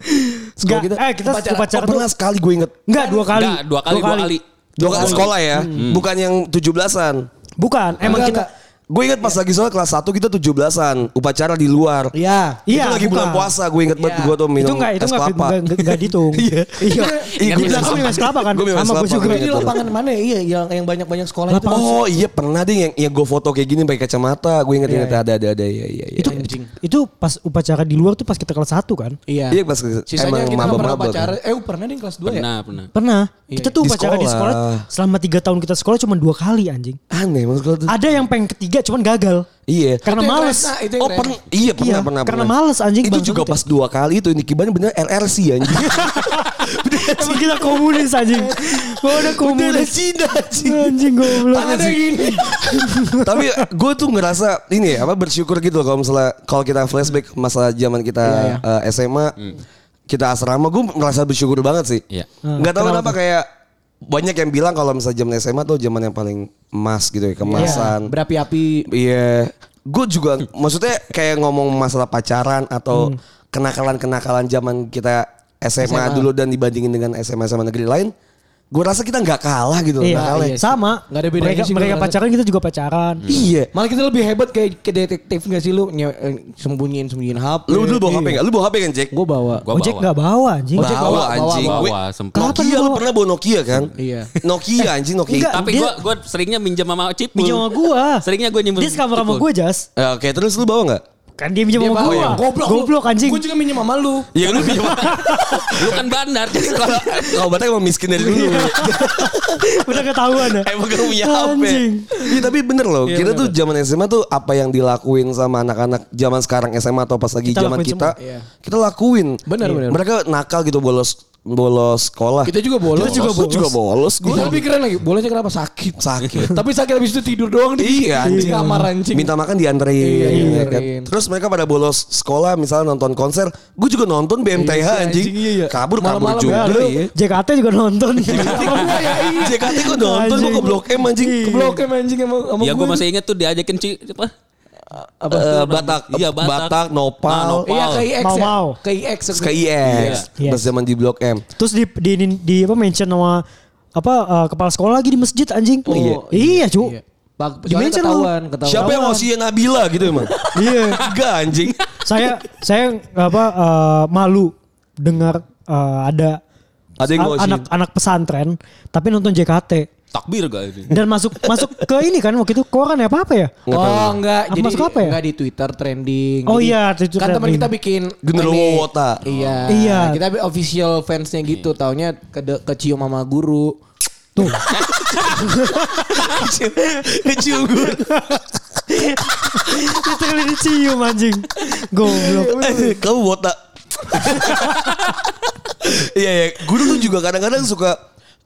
[SPEAKER 2] Sekolah
[SPEAKER 4] Nggak, eh, kita upacara
[SPEAKER 2] oh, pernah sekali gue inget.
[SPEAKER 4] Enggak dua kali.
[SPEAKER 5] Enggak, dua kali, dua kali.
[SPEAKER 2] Dua kali sekolah ya,
[SPEAKER 3] Hmm.
[SPEAKER 2] bukan yang 17-an.
[SPEAKER 4] Bukan, emang
[SPEAKER 3] Enggak,
[SPEAKER 4] kita
[SPEAKER 3] enggak.
[SPEAKER 2] Gue inget pas lagi soal kelas 1 kita 17-an, upacara di luar.
[SPEAKER 3] Iya
[SPEAKER 4] Iya,
[SPEAKER 2] itu lagi bulan
[SPEAKER 4] bukan.
[SPEAKER 2] puasa, gue inget banget
[SPEAKER 3] Iya.
[SPEAKER 2] gue tuh minum
[SPEAKER 4] itu enggak itu
[SPEAKER 2] es
[SPEAKER 4] enggak
[SPEAKER 2] kelapa.
[SPEAKER 4] enggak- enggak- enggak dihitung. Iya. Iya.
[SPEAKER 2] Iya,
[SPEAKER 4] Gue
[SPEAKER 2] minum
[SPEAKER 4] bilang
[SPEAKER 2] es
[SPEAKER 4] aku minum es kelapa kan
[SPEAKER 2] Gue minum es
[SPEAKER 4] sama gue
[SPEAKER 2] kelapa,
[SPEAKER 4] juga.
[SPEAKER 2] gue
[SPEAKER 3] Ini
[SPEAKER 2] Iya,
[SPEAKER 3] lapangan mana ya Iya yang, yang banyak-banyak sekolah itu
[SPEAKER 2] Oh iya pernah deh yang, yang gue foto kayak gini pakai kacamata. Gue inget inget ada ada ada iya iya. iya.
[SPEAKER 4] Itu itu pas upacara di luar tuh pas kita kelas 1 kan?
[SPEAKER 3] Iya
[SPEAKER 2] Iya pas emang
[SPEAKER 3] Sisanya kita nggak pernah
[SPEAKER 2] maba-maba.
[SPEAKER 3] pacaran
[SPEAKER 2] kan.
[SPEAKER 3] Eh pernah deh kelas 2 ya
[SPEAKER 5] Pernah, pernah.
[SPEAKER 4] Pernah. Kita tuh
[SPEAKER 2] Iya, Di
[SPEAKER 4] upacara di
[SPEAKER 2] sekolah.
[SPEAKER 4] sekolah selama 3 tahun kita sekolah cuma dua kali anjing.
[SPEAKER 2] Aneh maksud gue tuh.
[SPEAKER 4] Ada yang pengen ketiga cuman gagal.
[SPEAKER 2] Iya.
[SPEAKER 4] Karena
[SPEAKER 3] Itu yang
[SPEAKER 4] males.
[SPEAKER 3] keren, nah, itu yang
[SPEAKER 2] Oh
[SPEAKER 3] keren.
[SPEAKER 2] pernah, iya pernah pernah
[SPEAKER 4] karena
[SPEAKER 2] pernah.
[SPEAKER 4] males anjing ya.
[SPEAKER 2] Itu
[SPEAKER 4] bangsa
[SPEAKER 2] juga
[SPEAKER 4] kita.
[SPEAKER 2] pas dua kali itu Nikiban bener LRC anjing.
[SPEAKER 4] Emang kita komunis anjing. Gua udah
[SPEAKER 2] Udah
[SPEAKER 4] komunis.
[SPEAKER 2] Cina anjing.
[SPEAKER 4] Anjing goblok.
[SPEAKER 3] Ada gini
[SPEAKER 2] Tapi gue tuh ngerasa ini ya, apa bersyukur gitu loh kalau misalnya kalau kita flashback masa zaman kita eh, SMA, kita asrama, gue merasa bersyukur banget sih.
[SPEAKER 5] Iya.
[SPEAKER 2] Nggak tahu kenapa kayak banyak yang bilang kalau misalnya zaman SMA tuh zaman yang paling emas gitu ya,
[SPEAKER 3] Iya.
[SPEAKER 2] kemasan.
[SPEAKER 3] Berapi-api
[SPEAKER 2] Iya. Gue juga maksudnya kayak ngomong masalah pacaran atau kenakalan-kenakalan zaman kita SMA, dulu dan dibandingin dengan SMA SMA negeri lain, gue rasa kita nggak kalah gitu loh.
[SPEAKER 4] Iya,
[SPEAKER 2] nggak kalah.
[SPEAKER 4] iya, sama.
[SPEAKER 3] Nggak ada bedanya
[SPEAKER 4] mereka,
[SPEAKER 3] sih gua
[SPEAKER 4] mereka
[SPEAKER 3] rasa.
[SPEAKER 4] pacaran kita juga pacaran.
[SPEAKER 2] Iya.
[SPEAKER 3] Malah kita lebih hebat kayak ke detektif gak sih lu Nye- eh, sembunyiin sembunyiin HP.
[SPEAKER 2] Lu dulu bawa HP nggak? Lu bawa HP kan Jack?
[SPEAKER 3] Gue bawa.
[SPEAKER 5] Gua
[SPEAKER 4] Ojek
[SPEAKER 5] bawa.
[SPEAKER 4] nggak bawa anjing.
[SPEAKER 2] Ojek bawa,
[SPEAKER 3] bawa, bawa,
[SPEAKER 2] anjing.
[SPEAKER 5] bawa,
[SPEAKER 2] Weh,
[SPEAKER 5] sempet.
[SPEAKER 2] Nokia lu pernah bawa Nokia kan?
[SPEAKER 3] Iya.
[SPEAKER 2] Nokia anjing Nokia.
[SPEAKER 4] enggak.
[SPEAKER 5] Tapi
[SPEAKER 4] Dia-
[SPEAKER 5] gue gua seringnya minjem sama Cipul.
[SPEAKER 4] Minjem sama gua.
[SPEAKER 5] Seringnya gua nyimpen
[SPEAKER 4] Dia sekamar sama
[SPEAKER 5] Cipul.
[SPEAKER 4] gue jas.
[SPEAKER 2] Eh, Oke, terus lu bawa nggak?
[SPEAKER 4] Kan dia minjem sama gue.
[SPEAKER 3] Goblok.
[SPEAKER 4] Goblok anjing.
[SPEAKER 3] Gue juga minjem sama lu.
[SPEAKER 2] Iya lu pinjam.
[SPEAKER 5] Lu kan bandar. jadi
[SPEAKER 2] Kalau kalau
[SPEAKER 5] kalau-
[SPEAKER 2] batak emang miskin dari dulu.
[SPEAKER 4] Udah ketahuan ya.
[SPEAKER 2] Emang gak punya HP.
[SPEAKER 4] Anjing.
[SPEAKER 2] Iya tapi bener loh. kita tuh zaman SMA tuh apa yang dilakuin sama anak-anak zaman sekarang SMA atau pas lagi
[SPEAKER 4] Kita
[SPEAKER 2] zaman
[SPEAKER 4] lakuin
[SPEAKER 2] kita,
[SPEAKER 4] semua,
[SPEAKER 3] iya.
[SPEAKER 2] kita lakuin.
[SPEAKER 3] Bener,
[SPEAKER 2] Iya.
[SPEAKER 3] bener.
[SPEAKER 2] Mereka nakal gitu bolos bolos sekolah.
[SPEAKER 3] Kita juga bolos.
[SPEAKER 2] Kita juga bolos. Juga bolos. gitu.
[SPEAKER 3] Gue lebih keren lagi. Bolanya kenapa sakit?
[SPEAKER 2] Sakit.
[SPEAKER 3] Tapi sakit habis itu tidur doang di,
[SPEAKER 2] Iya, anjing.
[SPEAKER 3] di kamar anjing.
[SPEAKER 2] Minta makan dianterin.
[SPEAKER 3] Iya,
[SPEAKER 2] ya kan?
[SPEAKER 3] dianterin.
[SPEAKER 2] Terus mereka pada bolos sekolah misalnya nonton konser. Gue juga nonton BMTH
[SPEAKER 3] Iya,
[SPEAKER 2] anjing.
[SPEAKER 3] anjing, iya, iya.
[SPEAKER 2] Kabur kabur
[SPEAKER 3] Malam-malam
[SPEAKER 2] juga.
[SPEAKER 3] baru.
[SPEAKER 2] iya. Ya,
[SPEAKER 4] JKT juga nonton.
[SPEAKER 2] JKT gue nonton gue ke Blok M anjing.
[SPEAKER 3] Iya.
[SPEAKER 2] Eh,
[SPEAKER 3] Ke Blok M anjing sama, sama
[SPEAKER 5] Ya gue masih inget tuh diajakin Ci apa?
[SPEAKER 3] apa?
[SPEAKER 2] Eh, Batak,
[SPEAKER 5] Iya, Batak.
[SPEAKER 2] Nopal,
[SPEAKER 5] Nah, Nopal.
[SPEAKER 3] Iya ke IX ya.
[SPEAKER 4] Mau-mau.
[SPEAKER 3] Ke IX.
[SPEAKER 2] ke IX,
[SPEAKER 4] Iya.
[SPEAKER 2] pas zaman di Blok M.
[SPEAKER 4] Terus di di, di, di apa mention sama apa eh, kepala sekolah lagi di masjid anjing.
[SPEAKER 3] Oh,
[SPEAKER 4] iya. Iya, cu.
[SPEAKER 3] Iya. Bak-
[SPEAKER 4] Di
[SPEAKER 3] soalnya
[SPEAKER 4] mention lu.
[SPEAKER 3] ketahuan, ketahuan.
[SPEAKER 2] Siapa yang ngosihin Nabila gitu emang?
[SPEAKER 4] Iya.
[SPEAKER 2] Enggak anjing.
[SPEAKER 4] saya saya apa eh, malu dengar eh, ada
[SPEAKER 2] Ada yang
[SPEAKER 4] a-
[SPEAKER 2] ngosihin.
[SPEAKER 4] anak-anak pesantren tapi nonton JKT
[SPEAKER 5] Takbir gak ini?
[SPEAKER 4] dan masuk masuk ke ini kan waktu itu koran ya apa apa ya?
[SPEAKER 3] Oh enggak,
[SPEAKER 4] Apa
[SPEAKER 3] jadi
[SPEAKER 4] masuk apa ya?
[SPEAKER 3] enggak di Twitter trending.
[SPEAKER 4] Oh
[SPEAKER 3] Jadi,
[SPEAKER 4] iya, Twitter
[SPEAKER 3] kan teman
[SPEAKER 4] trending.
[SPEAKER 3] kita bikin
[SPEAKER 2] Genderuwo
[SPEAKER 3] ini.
[SPEAKER 2] Wota.
[SPEAKER 3] Iya.
[SPEAKER 4] Iya.
[SPEAKER 3] Kita bi- official fansnya gitu, taunya ke kecium sama guru.
[SPEAKER 4] Tuh.
[SPEAKER 2] Kecil gue.
[SPEAKER 4] Kita kali dicium anjing. Goblok.
[SPEAKER 2] Kamu botak. Iya ya, guru tuh juga kadang-kadang suka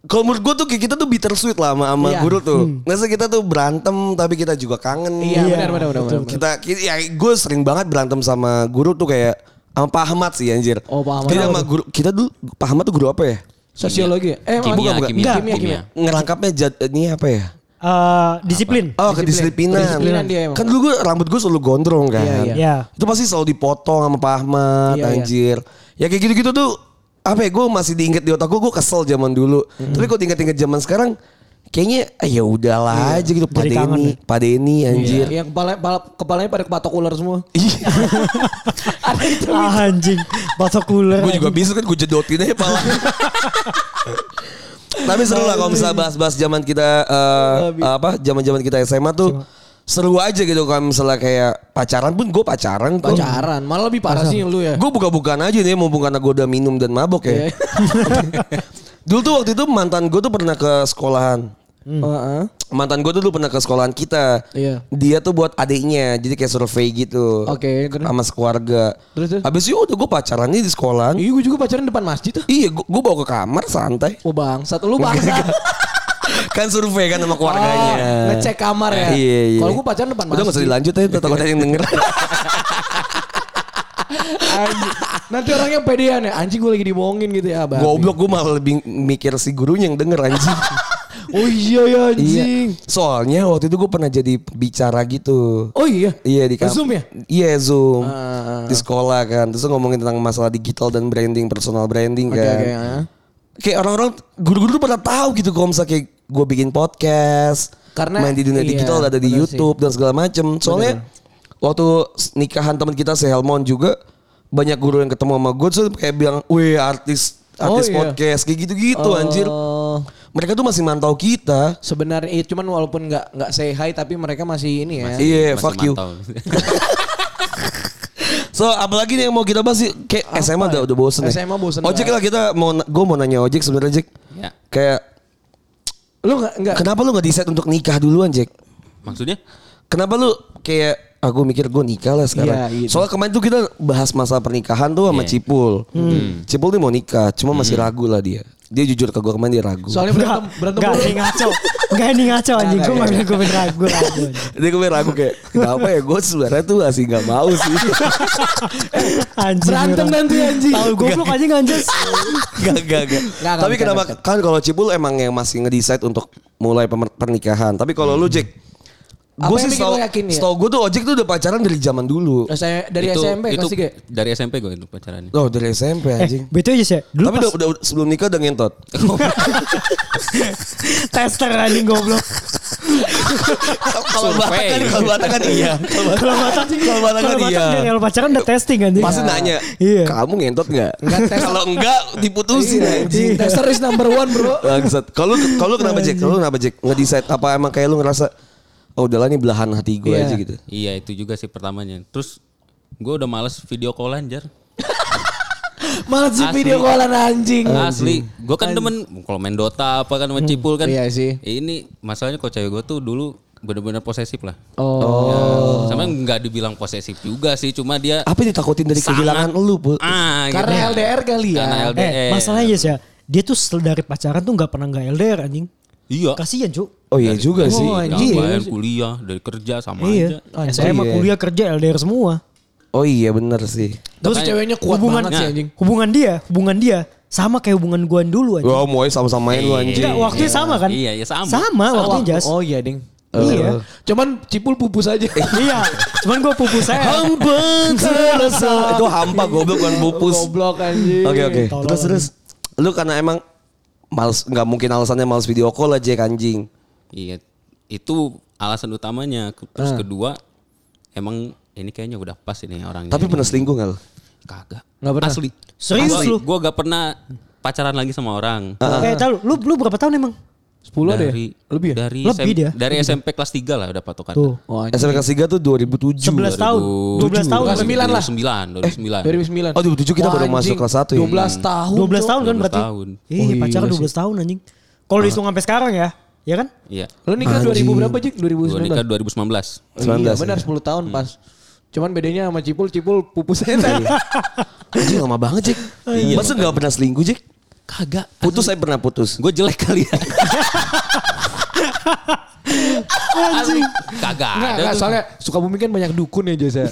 [SPEAKER 2] kalau menurut gue tuh kayak kita tuh bittersweet lah sama, sama
[SPEAKER 3] Iya.
[SPEAKER 2] guru tuh. Masa kita tuh berantem tapi kita juga kangen. Iya.
[SPEAKER 4] Iya.
[SPEAKER 3] Iya, benar benar benar. benar.
[SPEAKER 2] Kita, ki- ya gue sering banget berantem sama guru tuh kayak Sama Pak Ahmad sih anjir.
[SPEAKER 3] Oh, Pak Ahmad.
[SPEAKER 2] Kita sama guru kita dulu Pak Ahmad tuh guru apa ya?
[SPEAKER 3] Sosiologi. ya? Eh,
[SPEAKER 5] Kimia,
[SPEAKER 3] bukan, bukan.
[SPEAKER 5] kimia,
[SPEAKER 3] Kimia,
[SPEAKER 5] kimia.
[SPEAKER 3] kimia.
[SPEAKER 2] Ngerangkapnya jad, ini apa ya?
[SPEAKER 4] Eh, disiplin.
[SPEAKER 2] Oh,
[SPEAKER 3] Disiplin.
[SPEAKER 2] kedisiplinan.
[SPEAKER 3] Kedisiplinan dia emang.
[SPEAKER 2] Kan dulu gue rambut gue selalu gondrong kan.
[SPEAKER 3] Iya, iya.
[SPEAKER 4] Iya.
[SPEAKER 2] Itu pasti selalu dipotong sama Pak Ahmad
[SPEAKER 3] Iya, iya.
[SPEAKER 2] anjir. Ya kayak gitu-gitu tuh apa ya gue masih diinget di otak gue gue kesel zaman dulu. Tapi kalau diinget-inget zaman sekarang kayaknya ah, ya udahlah aja gitu Pak
[SPEAKER 4] Jadi kangen
[SPEAKER 2] Deni,
[SPEAKER 4] ya.
[SPEAKER 2] Pak Deni anjir.
[SPEAKER 3] Iya, Yang kepala, kepala- kepalanya pada kepatok ular semua.
[SPEAKER 4] Oh.
[SPEAKER 3] Ada itu.
[SPEAKER 4] Ah, anjing, batok cooler.
[SPEAKER 2] Gue juga bisa kan gue jedotin aja pala. Tapi seru lah kalau misalnya bahas-bahas zaman kita eh, apa zaman-zaman kita SMA tuh seru aja gitu kalau misalnya kayak pacaran pun gue pacaran kok.
[SPEAKER 3] Pacaran. Malah lebih parah sih yang lu ya.
[SPEAKER 2] Gue buka-bukaan aja nih mumpung karena gue udah minum dan mabok ya.
[SPEAKER 3] Iya.
[SPEAKER 2] Dulu tuh waktu itu mantan gue tuh pernah ke sekolahan.
[SPEAKER 3] Heeh.
[SPEAKER 2] Mantan gue tuh dulu pernah ke sekolahan kita.
[SPEAKER 3] Hmm. Iya.
[SPEAKER 2] Dia tuh buat adiknya, jadi kayak survei gitu.
[SPEAKER 3] Oke, terus?
[SPEAKER 2] Sama sekeluarga.
[SPEAKER 3] Terus, terus?
[SPEAKER 2] Habis itu udah gue pacarannya di sekolahan.
[SPEAKER 3] Iya, gue juga pacaran depan masjid tuh.
[SPEAKER 2] Iya, gue bawa ke kamar santai.
[SPEAKER 3] Oh bangsat, lu bangsat.
[SPEAKER 2] kan survei kan sama keluarganya.
[SPEAKER 3] Oh, ngecek kamar ya.
[SPEAKER 2] Iya, iya.
[SPEAKER 3] Kalau gue pacaran depan
[SPEAKER 2] Udah gak usah
[SPEAKER 3] masjid.
[SPEAKER 2] dilanjut aja, takut ada yang denger.
[SPEAKER 3] Anjing. Nanti orangnya pedean ya. Anjing gue lagi dibohongin gitu ya, Bang.
[SPEAKER 2] Goblok gue malah lebih mikir si gurunya yang denger anjing.
[SPEAKER 3] Oh iya ya anjing.
[SPEAKER 2] iya. Soalnya waktu itu gue pernah jadi bicara gitu.
[SPEAKER 3] Oh iya.
[SPEAKER 2] Iya di kamp-
[SPEAKER 3] Zoom ya?
[SPEAKER 2] Iya Zoom.
[SPEAKER 3] Ah.
[SPEAKER 2] Di sekolah kan. Terus ngomongin tentang masalah digital dan branding, personal branding
[SPEAKER 3] Oke,
[SPEAKER 2] kan.
[SPEAKER 3] oke, ah.
[SPEAKER 2] Kayak orang-orang guru-guru tuh pada tahu gitu kalau misalnya kayak gue bikin podcast,
[SPEAKER 3] Karena-
[SPEAKER 2] main di dunia
[SPEAKER 3] iya,
[SPEAKER 2] digital ada di
[SPEAKER 3] bener
[SPEAKER 2] YouTube dan segala macem. Soalnya waktu s- nikahan teman kita si Helmon juga banyak guru yang ketemu sama gue tuh kayak bilang, "Weh, artis
[SPEAKER 3] Oh,
[SPEAKER 2] artis
[SPEAKER 3] iya.
[SPEAKER 2] podcast kayak gitu-gitu anjir."
[SPEAKER 3] Oh.
[SPEAKER 2] Mereka tuh masih mantau kita.
[SPEAKER 3] Sebenarnya iya, cuman walaupun nggak nggak say hi tapi mereka masih ini ya.
[SPEAKER 2] Iya,
[SPEAKER 5] Masih
[SPEAKER 2] fuck you.
[SPEAKER 5] mantau.
[SPEAKER 2] So apalagi nih yang mau kita bahas sih kayak SMA udah, udah bosen ya.
[SPEAKER 3] SMA bosen
[SPEAKER 2] Ojek
[SPEAKER 3] banget.
[SPEAKER 2] lah kita mau gue mau nanya ojek sebenarnya Jack.
[SPEAKER 5] Ya.
[SPEAKER 2] Kayak
[SPEAKER 3] Lu nggak nggak
[SPEAKER 2] kenapa lu nggak di set untuk nikah duluan Jack?
[SPEAKER 5] Maksudnya?
[SPEAKER 2] Kenapa lu kayak aku mikir gue nikah lah sekarang.
[SPEAKER 3] Iya, gitu.
[SPEAKER 2] Soalnya kemarin tuh kita bahas masalah pernikahan tuh sama
[SPEAKER 5] Iya. Hmm.
[SPEAKER 2] Cipul. Cipul nih mau nikah, cuma masih ragu lah dia. Dia jujur ke gue kemarin dia ragu.
[SPEAKER 3] soalnya berantem berantem
[SPEAKER 4] Enggak,
[SPEAKER 3] mulu.
[SPEAKER 4] ini ngaco. Enggak, ini ngaco anjing. Gue gak bilang gue bener gue ragu. anjing.
[SPEAKER 2] dia kemarin ragu kayak kenapa ya gue sebenarnya tuh masih nggak mau sih.
[SPEAKER 4] Anjing.
[SPEAKER 3] Berantem
[SPEAKER 4] beneran.
[SPEAKER 3] nanti anjing.
[SPEAKER 4] Tahu goblok anjing anjas.
[SPEAKER 2] Gak, gak, gak.
[SPEAKER 3] Nggak, nggak,
[SPEAKER 2] Tapi
[SPEAKER 3] bercanda,
[SPEAKER 2] kenapa kan kalau Cipul emang yang masih ngedesain untuk mulai pemer- pernikahan. Tapi kalau lu Jack,
[SPEAKER 3] Hmm. Apa
[SPEAKER 2] gue
[SPEAKER 3] yang
[SPEAKER 2] sih tau,
[SPEAKER 3] bikin lo yakin ya?
[SPEAKER 2] tau gue tuh ojek tuh udah pacaran dari zaman dulu.
[SPEAKER 3] Eh, Saya dari
[SPEAKER 5] Itu-
[SPEAKER 3] SMP kelas
[SPEAKER 5] itu
[SPEAKER 3] tiga.
[SPEAKER 5] Dari SMP gue itu pacarannya.
[SPEAKER 2] Oh dari SMP
[SPEAKER 3] Eh,
[SPEAKER 2] anjing.
[SPEAKER 4] Betul Eh, aja sih. Dulu
[SPEAKER 2] Tapi
[SPEAKER 4] pas
[SPEAKER 2] udah, udah, udah- sebelum nikah udah ngentot.
[SPEAKER 4] tester anjing goblok.
[SPEAKER 2] kalau Batak kan,
[SPEAKER 5] Survei.
[SPEAKER 2] kalau Batak kan iya. Kalau Batak-
[SPEAKER 4] Kalau Batak
[SPEAKER 2] kalau Batak kan
[SPEAKER 4] kalau
[SPEAKER 2] iya.
[SPEAKER 4] Batak dari awal pacaran udah testing anjing.
[SPEAKER 2] Pasti nanya,
[SPEAKER 4] Iya.
[SPEAKER 2] kamu ngentot nggak?
[SPEAKER 3] Nggak, tes. Iya,
[SPEAKER 2] Kalau enggak diputusin anjing.
[SPEAKER 3] Tester is number one bro.
[SPEAKER 2] Bangsat. Kalau kalau kenapa Jack? Kalau lu kenapa Jack? Ngedesain apa emang kayak lu ngerasa oh udahlah nih belahan hati gue
[SPEAKER 3] Iya.
[SPEAKER 2] aja gitu.
[SPEAKER 5] Iya itu juga sih pertamanya. Terus gue udah males video callan jar.
[SPEAKER 3] Malah si
[SPEAKER 5] Asli.
[SPEAKER 3] video callan anjing.
[SPEAKER 5] Asli, gue kan demen kalau main Dota apa kan sama Cipul kan.
[SPEAKER 3] iya sih.
[SPEAKER 5] Ini masalahnya kok cewek gue tuh dulu bener-bener posesif lah.
[SPEAKER 3] Oh.
[SPEAKER 5] Ya, sama nggak dibilang posesif juga sih, cuma dia
[SPEAKER 2] Apa yang ditakutin dari
[SPEAKER 5] sangat-
[SPEAKER 2] kehilangan lu, Bu?
[SPEAKER 5] Ah,
[SPEAKER 3] Karena
[SPEAKER 2] Iya.
[SPEAKER 5] gitu.
[SPEAKER 3] LDR kali ya.
[SPEAKER 5] Karena LDR.
[SPEAKER 4] Eh, masalahnya aja sih. Dia tuh setelah dari pacaran tuh gak pernah gak LDR anjing.
[SPEAKER 5] Iya.
[SPEAKER 4] Kasihan cu.
[SPEAKER 2] Oh iya juga
[SPEAKER 5] Dari-
[SPEAKER 2] sih.
[SPEAKER 5] dari
[SPEAKER 3] anjing.
[SPEAKER 5] Ngapain kuliah, dari kerja sama aja.
[SPEAKER 4] Iya. Saya mah
[SPEAKER 2] Iya.
[SPEAKER 4] kuliah kerja LDR semua.
[SPEAKER 2] Oh iya bener sih.
[SPEAKER 3] Terus
[SPEAKER 5] Makanya-
[SPEAKER 3] ceweknya kuat
[SPEAKER 4] hubungan
[SPEAKER 3] banget sih
[SPEAKER 2] Nah.
[SPEAKER 3] anjing.
[SPEAKER 4] hubungan dia hubungan dia sama kayak hubungan gua dulu aja
[SPEAKER 2] Wah mau sama-sama main lu anjing.
[SPEAKER 4] Enggak, waktunya sama kan?
[SPEAKER 5] Iya, iya, sama.
[SPEAKER 4] Sama waktunya Jas.
[SPEAKER 3] Oh iya ding.
[SPEAKER 4] Iya.
[SPEAKER 3] Cuman cipul pupus aja.
[SPEAKER 2] Eh,
[SPEAKER 4] iya, cuman gua pupus saya.
[SPEAKER 2] Hampa terasa. Itu hampa goblok kan pupus.
[SPEAKER 3] Goblok anjing.
[SPEAKER 2] Oke oke.
[SPEAKER 4] Tolol
[SPEAKER 2] Terus terus lu karena emang males nggak mungkin alasannya males video call aja kan, anjing.
[SPEAKER 5] Iya. Itu alasan utamanya. Ke- Terus kedua, emang ini kayaknya udah pas ini orangnya.
[SPEAKER 2] Tapi
[SPEAKER 4] Hmm.
[SPEAKER 5] Ini.
[SPEAKER 2] pernah selingkuh nggak lu?
[SPEAKER 5] Kagak.
[SPEAKER 3] Nggak pernah.
[SPEAKER 5] Asli.
[SPEAKER 4] Serius
[SPEAKER 5] Asli.
[SPEAKER 4] lu?
[SPEAKER 5] Gue gak pernah pacaran lagi sama orang.
[SPEAKER 4] Eh, tahu lu lu berapa tahun emang?
[SPEAKER 3] 10 ada ya?
[SPEAKER 5] dari
[SPEAKER 3] Lebih ya?
[SPEAKER 5] dari
[SPEAKER 4] Lebih
[SPEAKER 5] SM
[SPEAKER 4] dia.
[SPEAKER 5] dari SMP kelas 3 lah udah patokan.
[SPEAKER 4] Tuh.
[SPEAKER 3] Oh, anjing.
[SPEAKER 2] SMP kelas 3 tuh 2007.
[SPEAKER 4] 11 tahun, 12 tahun, kan?
[SPEAKER 3] Bukan sembilan lah. 2009.
[SPEAKER 5] 9, 2009.
[SPEAKER 2] Oh, 2007 kita baru masuk kelas satu ya?
[SPEAKER 3] 12 tahun.
[SPEAKER 4] 12 tahun kan
[SPEAKER 5] 12
[SPEAKER 4] berarti.
[SPEAKER 5] tahun.
[SPEAKER 4] Iya, pacaran 12 tahun anjing. Kalau dihitung sampai sekarang ya, ya kan?
[SPEAKER 5] Iya.
[SPEAKER 3] Lu nikah 2000 berapa, Jik?
[SPEAKER 5] Gue
[SPEAKER 3] 2019.
[SPEAKER 5] nikah 2019.
[SPEAKER 3] Iya,
[SPEAKER 2] 19.
[SPEAKER 3] benar 10 tahun
[SPEAKER 2] Hmm.
[SPEAKER 3] pas. Cuman bedanya sama Cipul, Cipul
[SPEAKER 2] Iya.
[SPEAKER 3] pupusnya tadi.
[SPEAKER 2] Anjing lama banget Jack.
[SPEAKER 4] Iya.
[SPEAKER 2] Masa nggak pernah selingkuh Jack?
[SPEAKER 5] Kagak.
[SPEAKER 2] Putus saya pernah putus.
[SPEAKER 5] Gue jelek kali ya. Asli. Kagak
[SPEAKER 3] Enggak,
[SPEAKER 5] ada
[SPEAKER 3] enggak,
[SPEAKER 5] tuh.
[SPEAKER 3] soalnya Sukabumi kan banyak dukun ya, Jasa.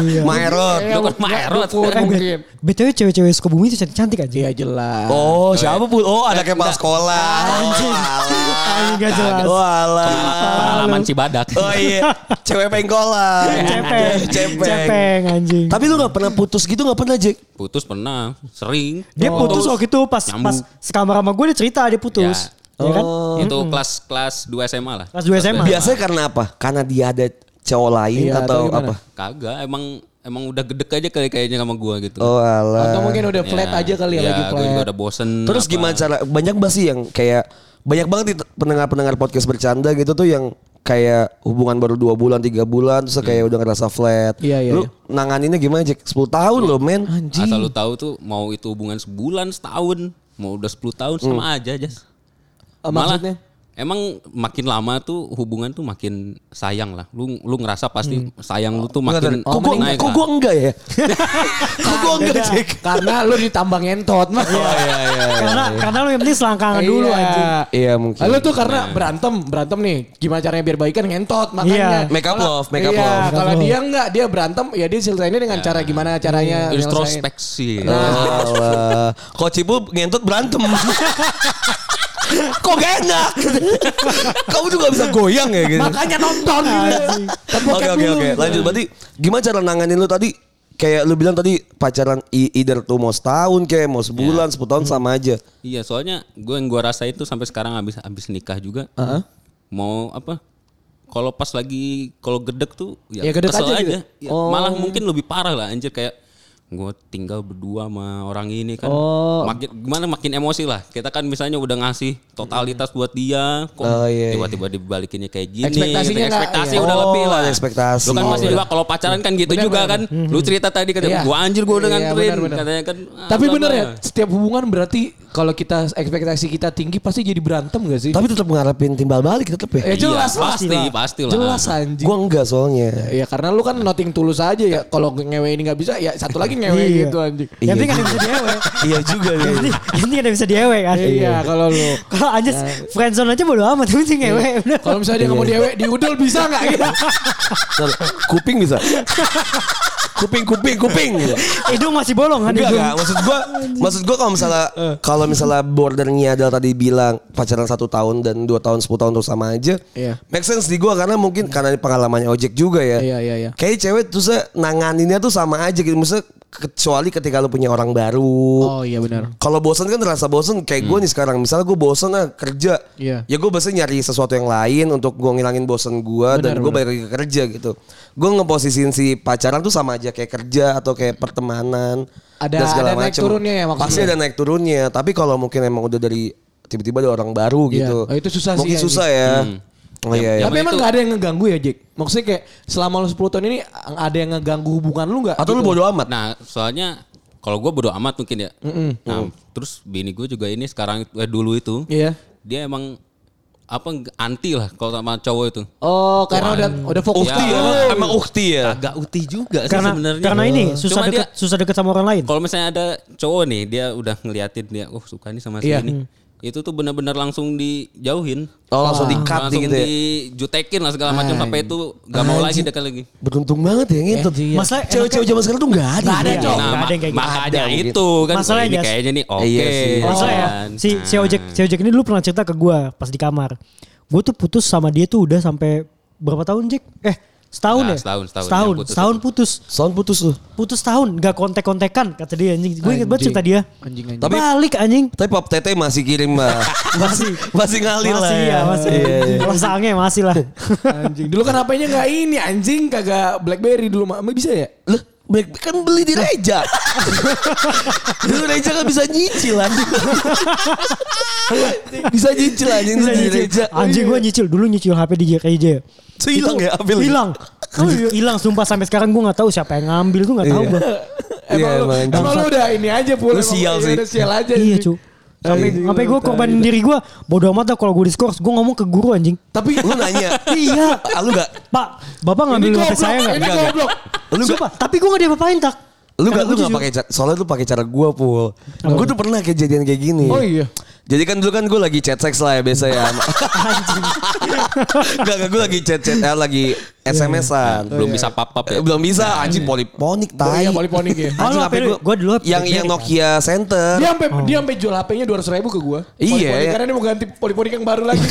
[SPEAKER 4] Iya.
[SPEAKER 2] Maerot.
[SPEAKER 5] Lu kan maerot.
[SPEAKER 3] Pur
[SPEAKER 4] Eh,
[SPEAKER 3] mungkin.
[SPEAKER 4] B- BTW cewek-cewek Sukabumi itu cantik-cantik iya. aja.
[SPEAKER 3] Iya jelas.
[SPEAKER 2] Oh, siapa pun? Oh, ada kepala sekolah.
[SPEAKER 4] Anjing. Anjing, gak jelas.
[SPEAKER 2] Walah.
[SPEAKER 5] Eh, Pengalaman Cibadak.
[SPEAKER 2] Oh iya, cewek pengkolan.
[SPEAKER 4] Cepeng.
[SPEAKER 2] Cepeng.
[SPEAKER 4] Cepeng anjing.
[SPEAKER 2] Tapi lu gak pernah putus gitu gak pernah Jack?
[SPEAKER 5] Putus pernah, sering.
[SPEAKER 4] Dia putus waktu itu pas
[SPEAKER 5] Nyambung.
[SPEAKER 4] pas sekamar sama gue dia cerita dia putus.
[SPEAKER 5] Ya.
[SPEAKER 4] Ya kan?
[SPEAKER 5] Itu kelas kelas 2 SMA lah.
[SPEAKER 4] Kelas 2 SMA.
[SPEAKER 2] Biasanya karena apa? Karena dia ada cowok lain
[SPEAKER 3] Iya,
[SPEAKER 2] atau
[SPEAKER 3] atau gimana?
[SPEAKER 2] apa?
[SPEAKER 5] Kagak, emang emang udah gedek aja kali kayaknya sama gua gitu.
[SPEAKER 2] Oh alah.
[SPEAKER 3] Atau mungkin udah flat aja kali ya, lagi
[SPEAKER 5] Gue Iya. juga
[SPEAKER 3] flat.
[SPEAKER 5] udah bosen.
[SPEAKER 2] Terus
[SPEAKER 5] apa.
[SPEAKER 2] gimana cara? Banyak banget sih yang kayak banyak banget di pendengar-pendengar podcast bercanda gitu tuh yang kayak hubungan baru dua bulan tiga bulan terus kayak udah ngerasa flat.
[SPEAKER 3] Iya, iya,
[SPEAKER 2] Lu
[SPEAKER 3] iya.
[SPEAKER 2] nanganinnya gimana Jack? 10 tahun loh men.
[SPEAKER 5] Asal lu tahu tuh mau itu hubungan sebulan, setahun, mau udah 10 tahun sama
[SPEAKER 2] Hmm.
[SPEAKER 5] aja, Jas.
[SPEAKER 3] Eh,
[SPEAKER 5] Malah,
[SPEAKER 3] maksudnya?
[SPEAKER 5] Emang makin lama tuh hubungan tuh makin sayang lah. Lu lu ngerasa pasti
[SPEAKER 3] Hmm.
[SPEAKER 5] sayang lu tuh
[SPEAKER 2] Bentar,
[SPEAKER 5] makin
[SPEAKER 2] kok gua,
[SPEAKER 5] naik
[SPEAKER 2] kok
[SPEAKER 5] lah.
[SPEAKER 2] gua enggak ya? kok gua enggak Jack?
[SPEAKER 3] Karena lu ditambah ngentot mah.
[SPEAKER 2] Iya iya.
[SPEAKER 4] karena karena lu yang penting selangkangan
[SPEAKER 3] Iya.
[SPEAKER 4] dulu anjing.
[SPEAKER 2] Iya mungkin.
[SPEAKER 3] Lalu tuh
[SPEAKER 5] Nah.
[SPEAKER 3] karena berantem, berantem nih. Gimana caranya biar baikan ngentot makanya.
[SPEAKER 2] Make up
[SPEAKER 3] Kalau-
[SPEAKER 2] love, make up
[SPEAKER 3] iya,
[SPEAKER 2] love. Iya.
[SPEAKER 3] Kalau dia enggak, dia berantem, ya dia selesainya dengan cara gimana caranya
[SPEAKER 5] Hmm.
[SPEAKER 3] nyelesain.
[SPEAKER 5] Introspeksi.
[SPEAKER 3] Nah,
[SPEAKER 2] Allah. Kok Cipul ngentut berantem. Kok gak enak? Kamu tuh gak bisa goyang ya gitu.
[SPEAKER 3] Makanya nonton gitu.
[SPEAKER 2] Oke oke oke. Lanjut berarti gimana cara nanganin lu tadi? Kayak lu bilang tadi pacaran i- either tuh mau setahun kayak mau sebulan, sepuluh tahun sama aja.
[SPEAKER 5] Iya, soalnya gue yang gue rasain tuh sampai sekarang habis habis nikah juga. Mau apa? Kalau pas lagi kalau gedek tuh ya,
[SPEAKER 3] Ya, gedek
[SPEAKER 5] kesel
[SPEAKER 3] aja
[SPEAKER 5] aja.
[SPEAKER 3] gitu.
[SPEAKER 5] Ya, Malah mungkin lebih parah lah anjir kayak gue tinggal berdua sama orang ini kan.
[SPEAKER 3] Oh.
[SPEAKER 5] Makin gimana makin emosi lah. Kita kan misalnya udah ngasih totalitas buat dia kok
[SPEAKER 2] Oh, iya, iya.
[SPEAKER 5] tiba-tiba dibalikinnya kayak gini.
[SPEAKER 3] Ekspektasinya
[SPEAKER 5] gitu.
[SPEAKER 3] nggak-
[SPEAKER 5] ekspektasi
[SPEAKER 3] iya.
[SPEAKER 5] udah
[SPEAKER 2] Oh,
[SPEAKER 5] lebih lah.
[SPEAKER 2] ada ekspektasi.
[SPEAKER 5] Lu kan
[SPEAKER 2] Oh,
[SPEAKER 5] masih
[SPEAKER 2] bener.
[SPEAKER 5] juga kalau pacaran kan gitu juga kan. Lu cerita tadi kan
[SPEAKER 3] Mhm. Iya.
[SPEAKER 5] gua anjir gua udah
[SPEAKER 3] Iya,
[SPEAKER 5] nganterin
[SPEAKER 3] benar, benar.
[SPEAKER 5] katanya kan. ah,
[SPEAKER 3] Tapi
[SPEAKER 5] bla,
[SPEAKER 3] bener
[SPEAKER 5] bla.
[SPEAKER 3] ya, setiap hubungan berarti kalau kita ekspektasi kita tinggi pasti jadi berantem gak sih?
[SPEAKER 2] Tapi tetap ngarepin timbal balik tetap
[SPEAKER 3] ya
[SPEAKER 2] ya.
[SPEAKER 3] jelas
[SPEAKER 5] Iya,
[SPEAKER 3] lah.
[SPEAKER 5] pasti, pasti lah.
[SPEAKER 3] Jelas anjing.
[SPEAKER 2] Gua enggak soalnya.
[SPEAKER 3] Ya karena lu kan noting tulus aja ya. Kalau ngewe ini nggak bisa, ya satu lagi ngewe
[SPEAKER 4] Iya.
[SPEAKER 3] gitu anjing.
[SPEAKER 4] Yang penting
[SPEAKER 2] Iya
[SPEAKER 4] ada bisa diewe.
[SPEAKER 2] iya juga
[SPEAKER 4] Yang
[SPEAKER 2] ya.
[SPEAKER 4] penting- yang penting ada bisa diewe kan.
[SPEAKER 3] Iya kalau lu.
[SPEAKER 4] Kalau aja friendzone aja bodo amat tapi sih ngewe. bener.
[SPEAKER 3] Kalau misalnya dia nggak mau
[SPEAKER 5] iya.
[SPEAKER 3] diewe, diudel bisa nggak gitu?
[SPEAKER 2] Ntar, Kuping bisa. Kuping kuping kuping. gitu.
[SPEAKER 4] Hidung masih bolong kan
[SPEAKER 2] Enggak,
[SPEAKER 4] hidung.
[SPEAKER 2] enggak. Maksud gua, maksud gua kalau misalnya
[SPEAKER 3] Eh.
[SPEAKER 2] kalau misalnya bordernya adalah tadi bilang pacaran satu tahun dan dua tahun sepuluh tahun terus sama aja,
[SPEAKER 3] Iya.
[SPEAKER 2] make sense di gua karena mungkin karena ini pengalamannya ojek juga ya.
[SPEAKER 3] Iya, iya, iya.
[SPEAKER 2] Kayak cewek tuh se nanganinnya tuh sama aja gitu. Maksudnya kecuali ketika lu punya orang baru.
[SPEAKER 3] Oh iya benar.
[SPEAKER 2] Kalau bosan kan terasa bosan kayak gua nih sekarang. Misalnya gua bosan ah kerja,
[SPEAKER 3] Iya.
[SPEAKER 2] ya gua biasanya nyari sesuatu yang lain untuk gua ngilangin bosan gua dan gua balik lagi ke kerja gitu. Gua ngeposisiin si pacaran tuh sama aja kayak kerja atau kayak pertemanan
[SPEAKER 3] Ada- ada naik
[SPEAKER 2] macem.
[SPEAKER 3] turunnya ya maksudnya?
[SPEAKER 2] Pasti ada naik turunnya, tapi kalau mungkin emang udah dari tiba-tiba ada orang baru
[SPEAKER 3] Iya.
[SPEAKER 2] gitu.
[SPEAKER 3] Oh, itu susah sih
[SPEAKER 2] mungkin
[SPEAKER 3] ya,
[SPEAKER 2] susah ya. Oh, iya, iya.
[SPEAKER 3] Tapi emang
[SPEAKER 5] Yang itu-
[SPEAKER 3] nggak ada yang ngeganggu ya Jack? Maksudnya kayak selama lu 10 tahun ini ada yang ngeganggu hubungan lu nggak?
[SPEAKER 2] Atau lu
[SPEAKER 3] Gitu.
[SPEAKER 2] bodo amat?
[SPEAKER 5] Nah, soalnya kalau gue bodo amat mungkin ya. Nah, terus bini gue juga ini sekarang eh, dulu itu
[SPEAKER 3] Iya.
[SPEAKER 5] dia emang apa nggak- anti lah kalau sama cowok itu.
[SPEAKER 3] Oh karena udah udah fokus.
[SPEAKER 2] ukti ya,
[SPEAKER 5] Iya.
[SPEAKER 2] emang- emang ukti ya.
[SPEAKER 5] Agak uti juga sih
[SPEAKER 4] Karena
[SPEAKER 5] sebenarnya.
[SPEAKER 4] karena ini
[SPEAKER 5] Cuma
[SPEAKER 4] susah
[SPEAKER 5] dia-
[SPEAKER 4] deket susah deket sama orang lain.
[SPEAKER 5] Kalau misalnya ada cowok nih, dia udah ngeliatin dia, oh suka nih sama si
[SPEAKER 3] Iya.
[SPEAKER 5] ini. Itu tuh benar-benar langsung dijauhin.
[SPEAKER 2] Oh, langsung di-cut
[SPEAKER 5] langsung
[SPEAKER 2] gitu ya?
[SPEAKER 5] dijutekin lah segala macam sampai itu gak mau lagi dekat lagi.
[SPEAKER 2] Beruntung banget ya gitu.
[SPEAKER 3] Anjing,
[SPEAKER 4] iya. Masalah
[SPEAKER 2] cewek-cewek zaman sekarang tuh enggak ada.
[SPEAKER 4] Nggak ada,
[SPEAKER 2] Iya.
[SPEAKER 4] Cok. nggak ada
[SPEAKER 5] Nah,
[SPEAKER 4] yang kayak gitu.
[SPEAKER 5] ma- makanya
[SPEAKER 2] Ada mungkin.
[SPEAKER 5] itu kan
[SPEAKER 4] Masalahnya,
[SPEAKER 5] ini
[SPEAKER 4] Jas.
[SPEAKER 5] kayaknya nih oke.
[SPEAKER 2] Iya sih.
[SPEAKER 5] kan.
[SPEAKER 4] Masalah ya, si, si ojek si ojek ini dulu pernah cerita ke gue pas di kamar. Gue tuh putus sama dia tuh udah sampai berapa tahun Jack? Eh setahun ya?
[SPEAKER 5] Nah, setahun, setahun.
[SPEAKER 4] setahun,
[SPEAKER 5] Yang putus
[SPEAKER 4] setahun
[SPEAKER 5] itu.
[SPEAKER 4] putus.
[SPEAKER 2] Sound putus tuh.
[SPEAKER 4] Putus tahun, gak kontek-kontekan kata dia anjing. Gue inget banget
[SPEAKER 3] Anjing.
[SPEAKER 4] cerita dia.
[SPEAKER 3] Anjing, anjing.
[SPEAKER 4] Tapi balik anjing.
[SPEAKER 2] Tapi Pop Tete masih kirim mah.
[SPEAKER 4] Masih.
[SPEAKER 2] masih ngalir lah.
[SPEAKER 4] Masih ya, masih.
[SPEAKER 2] Iya, iya.
[SPEAKER 4] Kalau sange masih lah.
[SPEAKER 3] Anjing. Dulu kan apanya nggak ini anjing kagak BlackBerry dulu mah Emang bisa ya?
[SPEAKER 2] Lah, Black- kan beli di Reja. Dulu Reja kan bisa nyicil anjing. bisa nyicil anjing
[SPEAKER 4] Bisa
[SPEAKER 2] tuh di
[SPEAKER 4] nyicil.
[SPEAKER 2] Reja.
[SPEAKER 4] Anjing gue nyicil dulu nyicil HP di JKJ.
[SPEAKER 2] Itu hilang ya, ambil ya?
[SPEAKER 4] Hilang. Anjing, Hilang sumpah sampai sekarang gue nggak tahu siapa yang ngambil gue nggak tahu
[SPEAKER 2] Iya.
[SPEAKER 4] gue.
[SPEAKER 3] Emang,
[SPEAKER 2] Iya,
[SPEAKER 3] lu,
[SPEAKER 2] emang.
[SPEAKER 3] emang lu udah ini aja
[SPEAKER 2] Lu
[SPEAKER 3] pulang.
[SPEAKER 2] sial sih.
[SPEAKER 3] Udah sial aja.
[SPEAKER 4] Iya
[SPEAKER 3] anjing.
[SPEAKER 4] cu. Sampai,
[SPEAKER 3] Anjing,
[SPEAKER 4] sampai gue
[SPEAKER 3] lu
[SPEAKER 4] korbanin diri gue bodo amat dah kalau gue diskors gue ngomong ke guru anjing.
[SPEAKER 2] Tapi lu nanya.
[SPEAKER 4] Iya.
[SPEAKER 2] Ah, Lu enggak
[SPEAKER 4] Pak, bapak ngambil
[SPEAKER 3] Ini
[SPEAKER 4] HP
[SPEAKER 3] goblok,
[SPEAKER 4] saya
[SPEAKER 3] ini
[SPEAKER 4] nggak?
[SPEAKER 3] goblok.
[SPEAKER 2] Lu nggak-
[SPEAKER 4] Sumpah, tapi gue gak diapa-apain tak.
[SPEAKER 2] lu gak lu
[SPEAKER 4] Karena gua
[SPEAKER 2] gak
[SPEAKER 4] jujur.
[SPEAKER 2] pakai cara soalnya lu pakai cara gua pul. Gua tuh pernah kejadian kayak gini.
[SPEAKER 3] Oh iya.
[SPEAKER 2] Jadi kan dulu kan gue lagi chat seks lah ya biasa ya. Gak, gak gue lagi chat chat eh, lagi SMS-an.
[SPEAKER 5] Belum bisa papap ya.
[SPEAKER 2] Eh, Belum bisa anjing poliponik
[SPEAKER 3] Oh,
[SPEAKER 2] tai.
[SPEAKER 3] iya, poliponik ya.
[SPEAKER 4] Oh, lu
[SPEAKER 2] Anjing
[SPEAKER 4] HP
[SPEAKER 2] HP
[SPEAKER 4] lu-
[SPEAKER 2] gue
[SPEAKER 4] gua dulu HP
[SPEAKER 2] yang yang
[SPEAKER 4] BlackBerry.
[SPEAKER 2] Nokia Center.
[SPEAKER 3] Dia sampai dia sampai jual HP-nya 200 ribu ke gua.
[SPEAKER 2] Iya,
[SPEAKER 3] Poliponik,
[SPEAKER 2] iya.
[SPEAKER 3] Karena dia mau ganti poliponik yang baru lagi.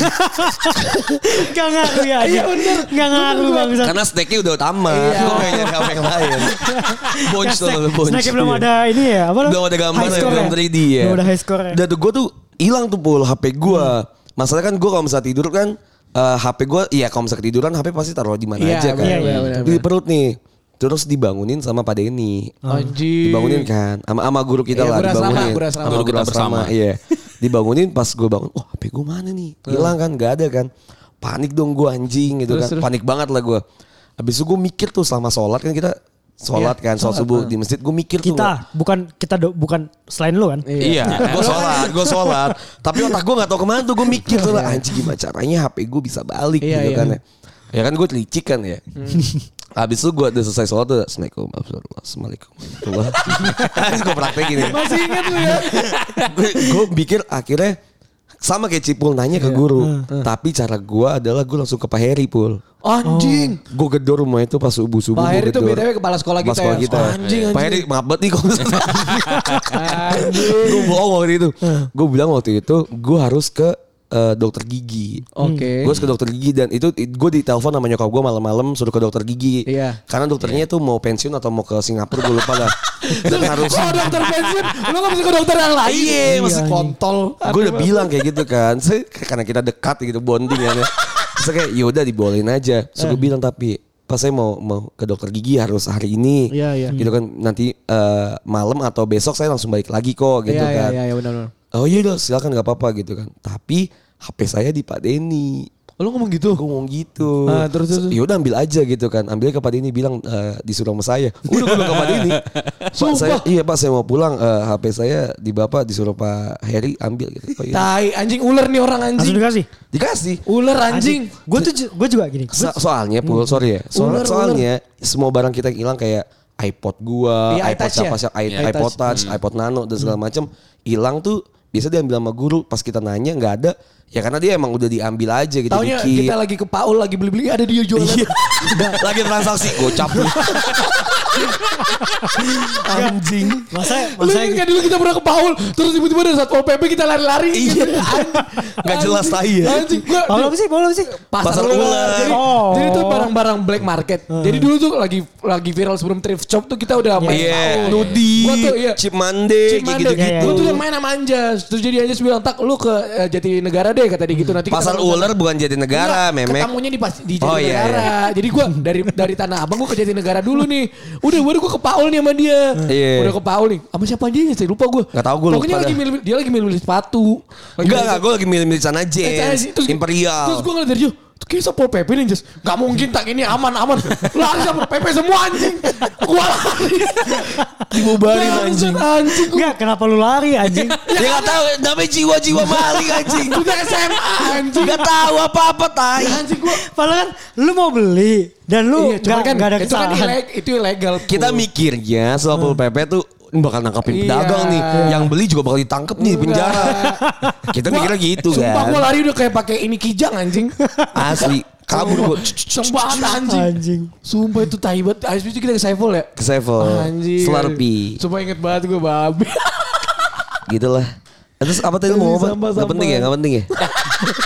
[SPEAKER 4] Gak ngaruh ya.
[SPEAKER 3] Iya, bener.
[SPEAKER 4] Gak ngaruh bangsa.
[SPEAKER 2] Karena snacknya udah utama.
[SPEAKER 3] Iya.
[SPEAKER 2] Gue pengen nyari HP yang lain. Bonch
[SPEAKER 4] Hashtag-
[SPEAKER 2] tuh bonch.
[SPEAKER 4] snacknya belum ada ini ya. Apa
[SPEAKER 2] Belum ada gambar
[SPEAKER 4] ya.
[SPEAKER 2] belum 3D ya.
[SPEAKER 4] Belum ada high score ya. Hmm.
[SPEAKER 2] Dan tuh gue tuh hilang tuh pul HP gue. Masalah kan gue kalau misalnya tidur kan eh, HP gue, iya kalau misalnya ketiduran HP pasti taruh di mana
[SPEAKER 3] Iya,
[SPEAKER 2] aja kan.
[SPEAKER 4] iya, iya, benar,
[SPEAKER 2] di perut nih. Terus dibangunin sama Pak Denny.
[SPEAKER 3] Anjir.
[SPEAKER 2] Dibangunin kan sama sama guru kita
[SPEAKER 3] Iya,
[SPEAKER 2] lah
[SPEAKER 3] guru asrama,
[SPEAKER 2] dibangunin.
[SPEAKER 3] guru asrama.
[SPEAKER 2] Sama
[SPEAKER 5] Guru
[SPEAKER 2] guru
[SPEAKER 5] kita
[SPEAKER 2] asrama,
[SPEAKER 5] bersama.
[SPEAKER 2] iya. Dibangunin pas gue bangun, wah HP gue mana nih?
[SPEAKER 3] Hmm.
[SPEAKER 2] Hilang kan, gak ada kan. Panik dong gue anjing gitu kan. Panik banget lah gue. Habis itu gue mikir tuh selama sholat kan kita
[SPEAKER 3] Iya.
[SPEAKER 2] sholat kan, sholat subuh
[SPEAKER 3] hmm.
[SPEAKER 2] di masjid gue mikir tuh.
[SPEAKER 4] Kita
[SPEAKER 2] nggak-
[SPEAKER 4] bukan kita do- bukan selain lu kan.
[SPEAKER 2] Iya, gue sholat, gue sholat. Tapi otak gue gak tau kemana tuh, gue mikir tuh lah, anjing gimana caranya HP gue bisa balik gitu
[SPEAKER 3] Iya, iya. Hmm.
[SPEAKER 2] kan ya. Ya kan gue licik kan ya. Habis itu gue udah selesai sholat tuh, Assalamualaikum, Assalamualaikum. Terus gue praktekin ya.
[SPEAKER 3] Masih ingat lu ya.
[SPEAKER 2] Gue pikir akhirnya sama kayak Cipul nanya ke
[SPEAKER 3] Iya. Hmm.
[SPEAKER 2] guru. Hmm. Tapi cara gue adalah gue langsung ke Pak Heri, Pul.
[SPEAKER 3] Anjing.
[SPEAKER 2] Gue gedor rumah itu pas subuh-subuh.
[SPEAKER 3] Pak
[SPEAKER 2] gua
[SPEAKER 3] Heri tuh
[SPEAKER 2] gedor.
[SPEAKER 3] BTW kepala sekolah
[SPEAKER 2] Pas
[SPEAKER 3] kita
[SPEAKER 2] sekolah
[SPEAKER 3] ya.
[SPEAKER 2] kita.
[SPEAKER 3] Anjing,
[SPEAKER 2] Pak Heri, maaf banget nih kalau gue bohong waktu itu. Gue bilang waktu itu gue harus ke eh, dokter gigi.
[SPEAKER 3] Oke.
[SPEAKER 2] Gue harus ke dokter gigi dan itu gue ditelepon sama nyokap gue malam-malam suruh ke dokter gigi.
[SPEAKER 3] Iya.
[SPEAKER 2] Karena dokternya tuh mau pensiun atau mau ke Singapura gue lupa lah. dan harus
[SPEAKER 3] Kalau dokter pensiun, lu gak bisa ke dokter yang lain.
[SPEAKER 2] Iya,
[SPEAKER 3] masih kontol.
[SPEAKER 2] gue udah bilang kayak gitu kan. Saya- karena kita dekat gitu bonding ya. Terus kayak yaudah dibolehin aja. Terus
[SPEAKER 3] Eh.
[SPEAKER 2] gue bilang tapi pas saya mau mau ke dokter gigi harus hari ini.
[SPEAKER 3] Iya, iya.
[SPEAKER 2] Gitu kan nanti eh, malam atau besok saya langsung balik lagi kok gitu
[SPEAKER 3] Iya,
[SPEAKER 2] kan.
[SPEAKER 3] iya, iya, iya, benar benar.
[SPEAKER 2] Oh iya dong silakan nggak apa-apa gitu kan. Tapi HP saya di Pak Denny.
[SPEAKER 3] Lu ngomong gitu?
[SPEAKER 2] Gue ngomong gitu.
[SPEAKER 3] Ah, terus, terus, terus.
[SPEAKER 2] Ya udah ambil aja gitu kan. Ambil ke Pak Denny bilang eh, disuruh sama saya. Udah gue bilang ke Pak Denny. Pak, saya,
[SPEAKER 3] Sumpah.
[SPEAKER 2] iya Pak saya mau pulang. Eh, HP saya di Bapak disuruh Pak Heri ambil gitu. Pak, iya.
[SPEAKER 3] Tai, anjing ular nih orang
[SPEAKER 4] Langsung
[SPEAKER 3] anjing.
[SPEAKER 4] dikasih.
[SPEAKER 2] Dikasih.
[SPEAKER 3] Ular anjing.
[SPEAKER 4] Gue tuh ju- gua juga gini.
[SPEAKER 2] So- soalnya pul sorry ya. So-
[SPEAKER 3] Hmm. Ular,
[SPEAKER 2] soalnya semua barang kita yang hilang kayak iPod gua,
[SPEAKER 3] Iya,
[SPEAKER 2] iPod
[SPEAKER 3] iTouch
[SPEAKER 2] siapa
[SPEAKER 3] ya?
[SPEAKER 2] siapa, i-
[SPEAKER 3] Iya. Hmm.
[SPEAKER 2] iPod Touch, iPod Nano dan segala macam hilang tuh bisa diambil sama guru pas kita nanya nggak ada ya karena dia emang udah diambil aja gitu
[SPEAKER 3] Taunya
[SPEAKER 2] Diki.
[SPEAKER 3] kita lagi ke Paul lagi beli-beli ada dia jualan.
[SPEAKER 2] Iya. lagi transaksi gocap lu.
[SPEAKER 4] Anjing. Masa
[SPEAKER 3] Lu
[SPEAKER 4] masa
[SPEAKER 3] ingat nggak dulu kita pernah ke Paul Terus tiba-tiba ada Satpol PP kita lari-lari
[SPEAKER 2] Iya. Nggak
[SPEAKER 3] Gak
[SPEAKER 2] jelas tai ya.
[SPEAKER 3] Anjing gua
[SPEAKER 4] Mau apa sih? Mau apa sih?
[SPEAKER 2] Pasar
[SPEAKER 3] pasar, ular.
[SPEAKER 2] ular.
[SPEAKER 3] Jadi,
[SPEAKER 4] Oh.
[SPEAKER 3] jadi itu barang-barang black market. Jadi dulu tuh lagi lagi viral sebelum thrift shop tuh kita udah main
[SPEAKER 2] Iya,
[SPEAKER 3] tahu.
[SPEAKER 2] Nudi,
[SPEAKER 3] Gua tuh iya.
[SPEAKER 2] Cip Mande, kayak
[SPEAKER 3] Cimande.
[SPEAKER 2] gitu-gitu.
[SPEAKER 3] Gua tuh yang main sama Anjas. Terus jadi Anjas bilang, "Tak, lu ke eh, Jatinegara deh," kata dia gitu. Nanti
[SPEAKER 2] Pasar
[SPEAKER 3] ketemu-
[SPEAKER 2] ular bukan Jatinegara,
[SPEAKER 3] Enggak,
[SPEAKER 2] memek.
[SPEAKER 3] Iya, Ketemunya di pas di
[SPEAKER 2] Oh, iya,
[SPEAKER 3] Jatinegara. Jadi gua dari dari Tanah Abang gua ke Jatinegara dulu nih. Udah baru gua ke Paul nih sama dia.
[SPEAKER 2] Iya.
[SPEAKER 3] Udah ke Paul nih. Sama siapa aja ya? Saya lupa gua.
[SPEAKER 2] Nggak tahu, gua
[SPEAKER 3] Pokoknya
[SPEAKER 2] lupa
[SPEAKER 3] lagi
[SPEAKER 2] dah.
[SPEAKER 3] milih- dia lagi milih sepatu.
[SPEAKER 2] Enggak,
[SPEAKER 3] Lagi milih-
[SPEAKER 2] enggak, gue lagi milih-milih sana
[SPEAKER 3] Eh, saya
[SPEAKER 2] James,
[SPEAKER 3] sih. Terus- Terus
[SPEAKER 2] Imperial.
[SPEAKER 3] gue ngeliat dari jauh. Tuh kayaknya Satpol PP nih Jas. Gak mungkin tak ini aman aman. Lari Satpol PP semua anjing. Gue lari.
[SPEAKER 2] Dibubarin
[SPEAKER 3] Bangsat,
[SPEAKER 2] anjing.
[SPEAKER 3] Anjing.
[SPEAKER 4] Enggak, kenapa lu lari anjing?
[SPEAKER 2] Dia nggak tahu namanya jiwa-jiwa maling anjing.
[SPEAKER 3] Kita SMA anjing.
[SPEAKER 2] Nggak tahu apa-apa tai.
[SPEAKER 3] Anjing gue.
[SPEAKER 4] Padahal kan lu mau beli dan lu
[SPEAKER 3] Iya, cuman
[SPEAKER 4] nggak nggak ada
[SPEAKER 3] itu kan
[SPEAKER 4] kesalahan.
[SPEAKER 3] ileg- itu ilegal. Pul.
[SPEAKER 2] Kita mikirnya soal PP tuh "Ini bakal nangkapin
[SPEAKER 3] Iya.
[SPEAKER 2] pedagang nih. Yang beli juga bakal ditangkep nih di penjara. Kita
[SPEAKER 3] Gua-
[SPEAKER 2] mikirnya gitu
[SPEAKER 3] Sumpah gue
[SPEAKER 2] kan.
[SPEAKER 3] lari udah kayak pakai ini kijang anjing.
[SPEAKER 2] Asli. Kabur gue.
[SPEAKER 3] Sumpah anjing.
[SPEAKER 4] Anjing.
[SPEAKER 3] Sumpah itu tai banget. Habis itu kita ke Saiful ya.
[SPEAKER 2] Ke Sevel.
[SPEAKER 3] Anjing.
[SPEAKER 2] Oh, Slurpee.
[SPEAKER 3] Sumpah inget banget Eh, gue babi.
[SPEAKER 2] Gitu lah. Terus apa tadi lu mau apa?
[SPEAKER 3] Sampah-sampah.
[SPEAKER 2] Gak penting ya, gak penting ya?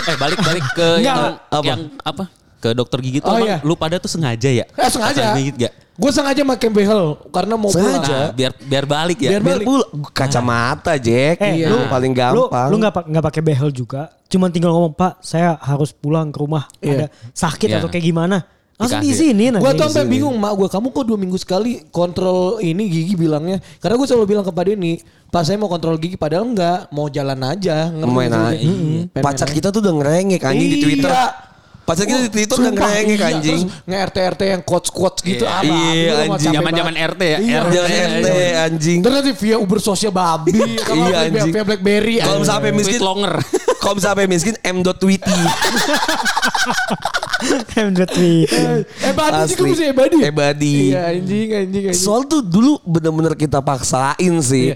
[SPEAKER 5] eh balik balik
[SPEAKER 4] Enggak,
[SPEAKER 5] ke yang
[SPEAKER 2] apa?
[SPEAKER 5] yang apa? Ke dokter gigi tuh
[SPEAKER 3] Oh,
[SPEAKER 5] emang
[SPEAKER 3] iya.
[SPEAKER 5] lu pada tuh sengaja ya?
[SPEAKER 3] Eh sengaja.
[SPEAKER 5] Pasang gigit gak?
[SPEAKER 3] Gue sengaja pakai behel karena mau
[SPEAKER 5] Nah,
[SPEAKER 3] pulang.
[SPEAKER 5] biar biar balik ya.
[SPEAKER 3] Biar
[SPEAKER 2] Biar
[SPEAKER 3] balik.
[SPEAKER 2] pula kacamata Jack,
[SPEAKER 4] Eh,
[SPEAKER 2] lu
[SPEAKER 4] lu-
[SPEAKER 2] paling
[SPEAKER 4] Lu
[SPEAKER 2] gampang.
[SPEAKER 4] lu nggak pa- nggak pakai behel juga. Cuman tinggal ngomong, "Pak, saya harus pulang ke rumah. Ada
[SPEAKER 3] Iya.
[SPEAKER 4] sakit
[SPEAKER 5] Iya.
[SPEAKER 4] atau kayak gimana?" Langsung
[SPEAKER 5] Dikasih.
[SPEAKER 4] diizinin
[SPEAKER 3] Gue
[SPEAKER 4] anjing.
[SPEAKER 3] tuh sampai bingung mak gue kamu kok dua minggu sekali kontrol ini gigi bilangnya karena gue selalu bilang kepada ini pas saya mau kontrol gigi padahal enggak mau jalan aja Ngerti
[SPEAKER 2] Main
[SPEAKER 3] nggak sih?
[SPEAKER 2] aja.
[SPEAKER 3] Mm-mm. Pengen
[SPEAKER 2] Pacar
[SPEAKER 3] main
[SPEAKER 2] kita tuh udah ngerengek anjing di
[SPEAKER 3] Iya.
[SPEAKER 2] Twitter. Pacar kita di
[SPEAKER 3] aja.
[SPEAKER 2] Twitter udah
[SPEAKER 3] Sumpah,
[SPEAKER 2] ngerengek
[SPEAKER 3] iya.
[SPEAKER 2] anjing.
[SPEAKER 3] Terus nge-RT-RT yang quotes-quotes gitu apa
[SPEAKER 2] Iya,
[SPEAKER 3] Gua mau
[SPEAKER 2] anjing.
[SPEAKER 3] capek
[SPEAKER 5] Zaman-zaman
[SPEAKER 3] banget.
[SPEAKER 5] RT ya.
[SPEAKER 3] Iya.
[SPEAKER 5] RT.
[SPEAKER 2] Jangan RT anjing.
[SPEAKER 3] Terus nanti via Uber sosial babi
[SPEAKER 2] Iya,
[SPEAKER 3] Iya
[SPEAKER 2] anjing.
[SPEAKER 3] Via Blackberry
[SPEAKER 2] Kalau
[SPEAKER 3] anjing.
[SPEAKER 2] misalnya HP miskin
[SPEAKER 5] Tweet longer.
[SPEAKER 2] Kalau misalnya sampai miskin M.Witty.
[SPEAKER 4] Hendra tweet.
[SPEAKER 3] Ebadi juga
[SPEAKER 2] Asli. Eh,
[SPEAKER 3] mesti Ebadi. ya?
[SPEAKER 2] Ebadi.
[SPEAKER 3] Iya anjing anjing anjing.
[SPEAKER 2] Soal tuh dulu bener-bener kita paksain sih.
[SPEAKER 3] Iya.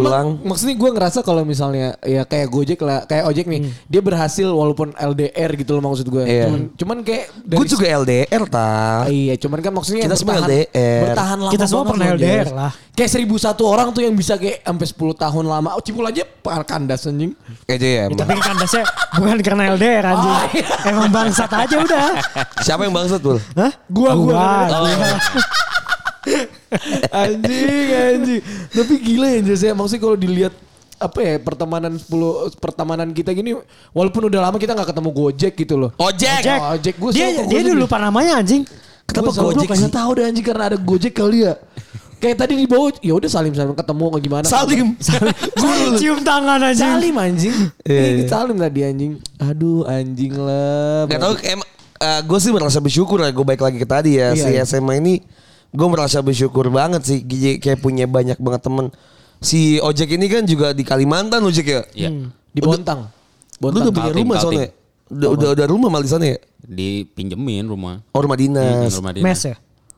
[SPEAKER 2] Pulang.
[SPEAKER 3] emang maksudnya gue ngerasa kalau misalnya ya kayak Gojek lah, kayak ojek nih, dia berhasil walaupun LDR gitu loh maksud gue.
[SPEAKER 2] Hmm. Iya.
[SPEAKER 3] Cuman, cuman kayak
[SPEAKER 2] Gue juga LDR ta.
[SPEAKER 3] Iya, cuman kan maksudnya
[SPEAKER 2] Kita semua
[SPEAKER 3] bertahan,
[SPEAKER 2] LDR.
[SPEAKER 3] bertahan lama
[SPEAKER 4] Kita semua
[SPEAKER 3] banget
[SPEAKER 4] pernah
[SPEAKER 3] loh,
[SPEAKER 4] LDR
[SPEAKER 3] Jess.
[SPEAKER 4] lah.
[SPEAKER 3] Kayak seribu satu orang tuh yang bisa kayak sampai 10 tahun lama. Oh, cipul aja pak- kandas anjing.
[SPEAKER 2] Kayaknya ya emang.
[SPEAKER 4] Tapi kan kandasnya bukan karena LDR anjing.
[SPEAKER 3] Oh, iya.
[SPEAKER 4] Emang bangsat aja udah.
[SPEAKER 2] Siapa yang bangsat Bul?
[SPEAKER 4] Hah?
[SPEAKER 3] Gua, gua.
[SPEAKER 4] gua.
[SPEAKER 3] anjing, anjing. Tapi gila ya Jess ya. Maksudnya kalau dilihat apa ya pertemanan 10 pertemanan kita gini walaupun udah lama kita nggak ketemu Gojek gitu loh.
[SPEAKER 2] Ojek.
[SPEAKER 4] Jack.
[SPEAKER 3] Oh, Jack, gua
[SPEAKER 4] dia
[SPEAKER 3] suka, gua
[SPEAKER 4] dia
[SPEAKER 3] suka.
[SPEAKER 4] dulu lupa namanya anjing.
[SPEAKER 3] Kenapa
[SPEAKER 4] Gua
[SPEAKER 3] Gojek
[SPEAKER 4] goblok,
[SPEAKER 3] sih?
[SPEAKER 4] anjing.
[SPEAKER 3] tahu deh anjing karena ada Gojek kali ya. Kayak tadi di bawah, ya udah salim salim ketemu atau gimana?
[SPEAKER 2] Salim.
[SPEAKER 4] Cium tangan anjing.
[SPEAKER 3] Salim anjing. Ini Salim tadi anjing. Aduh anjing lah.
[SPEAKER 2] Gak tau gue eh, sih merasa bersyukur ya gue baik lagi ke tadi ya
[SPEAKER 3] Iya,
[SPEAKER 2] si
[SPEAKER 3] iya.
[SPEAKER 2] SMA ini gue merasa bersyukur banget sih Gigi kayak punya banyak banget temen si ojek ini kan juga di Kalimantan ojek ya
[SPEAKER 5] Iya.
[SPEAKER 3] Di Bontang.
[SPEAKER 2] lu udah
[SPEAKER 3] Bontang.
[SPEAKER 2] punya
[SPEAKER 5] Kaltim,
[SPEAKER 2] rumah
[SPEAKER 5] Kaltim.
[SPEAKER 2] soalnya udah udah, udah rumah malah di sana ya
[SPEAKER 5] Dipinjemin rumah.
[SPEAKER 2] oh rumah
[SPEAKER 5] Pinjemin
[SPEAKER 2] dinas
[SPEAKER 5] rumah dia.
[SPEAKER 4] Mes ya.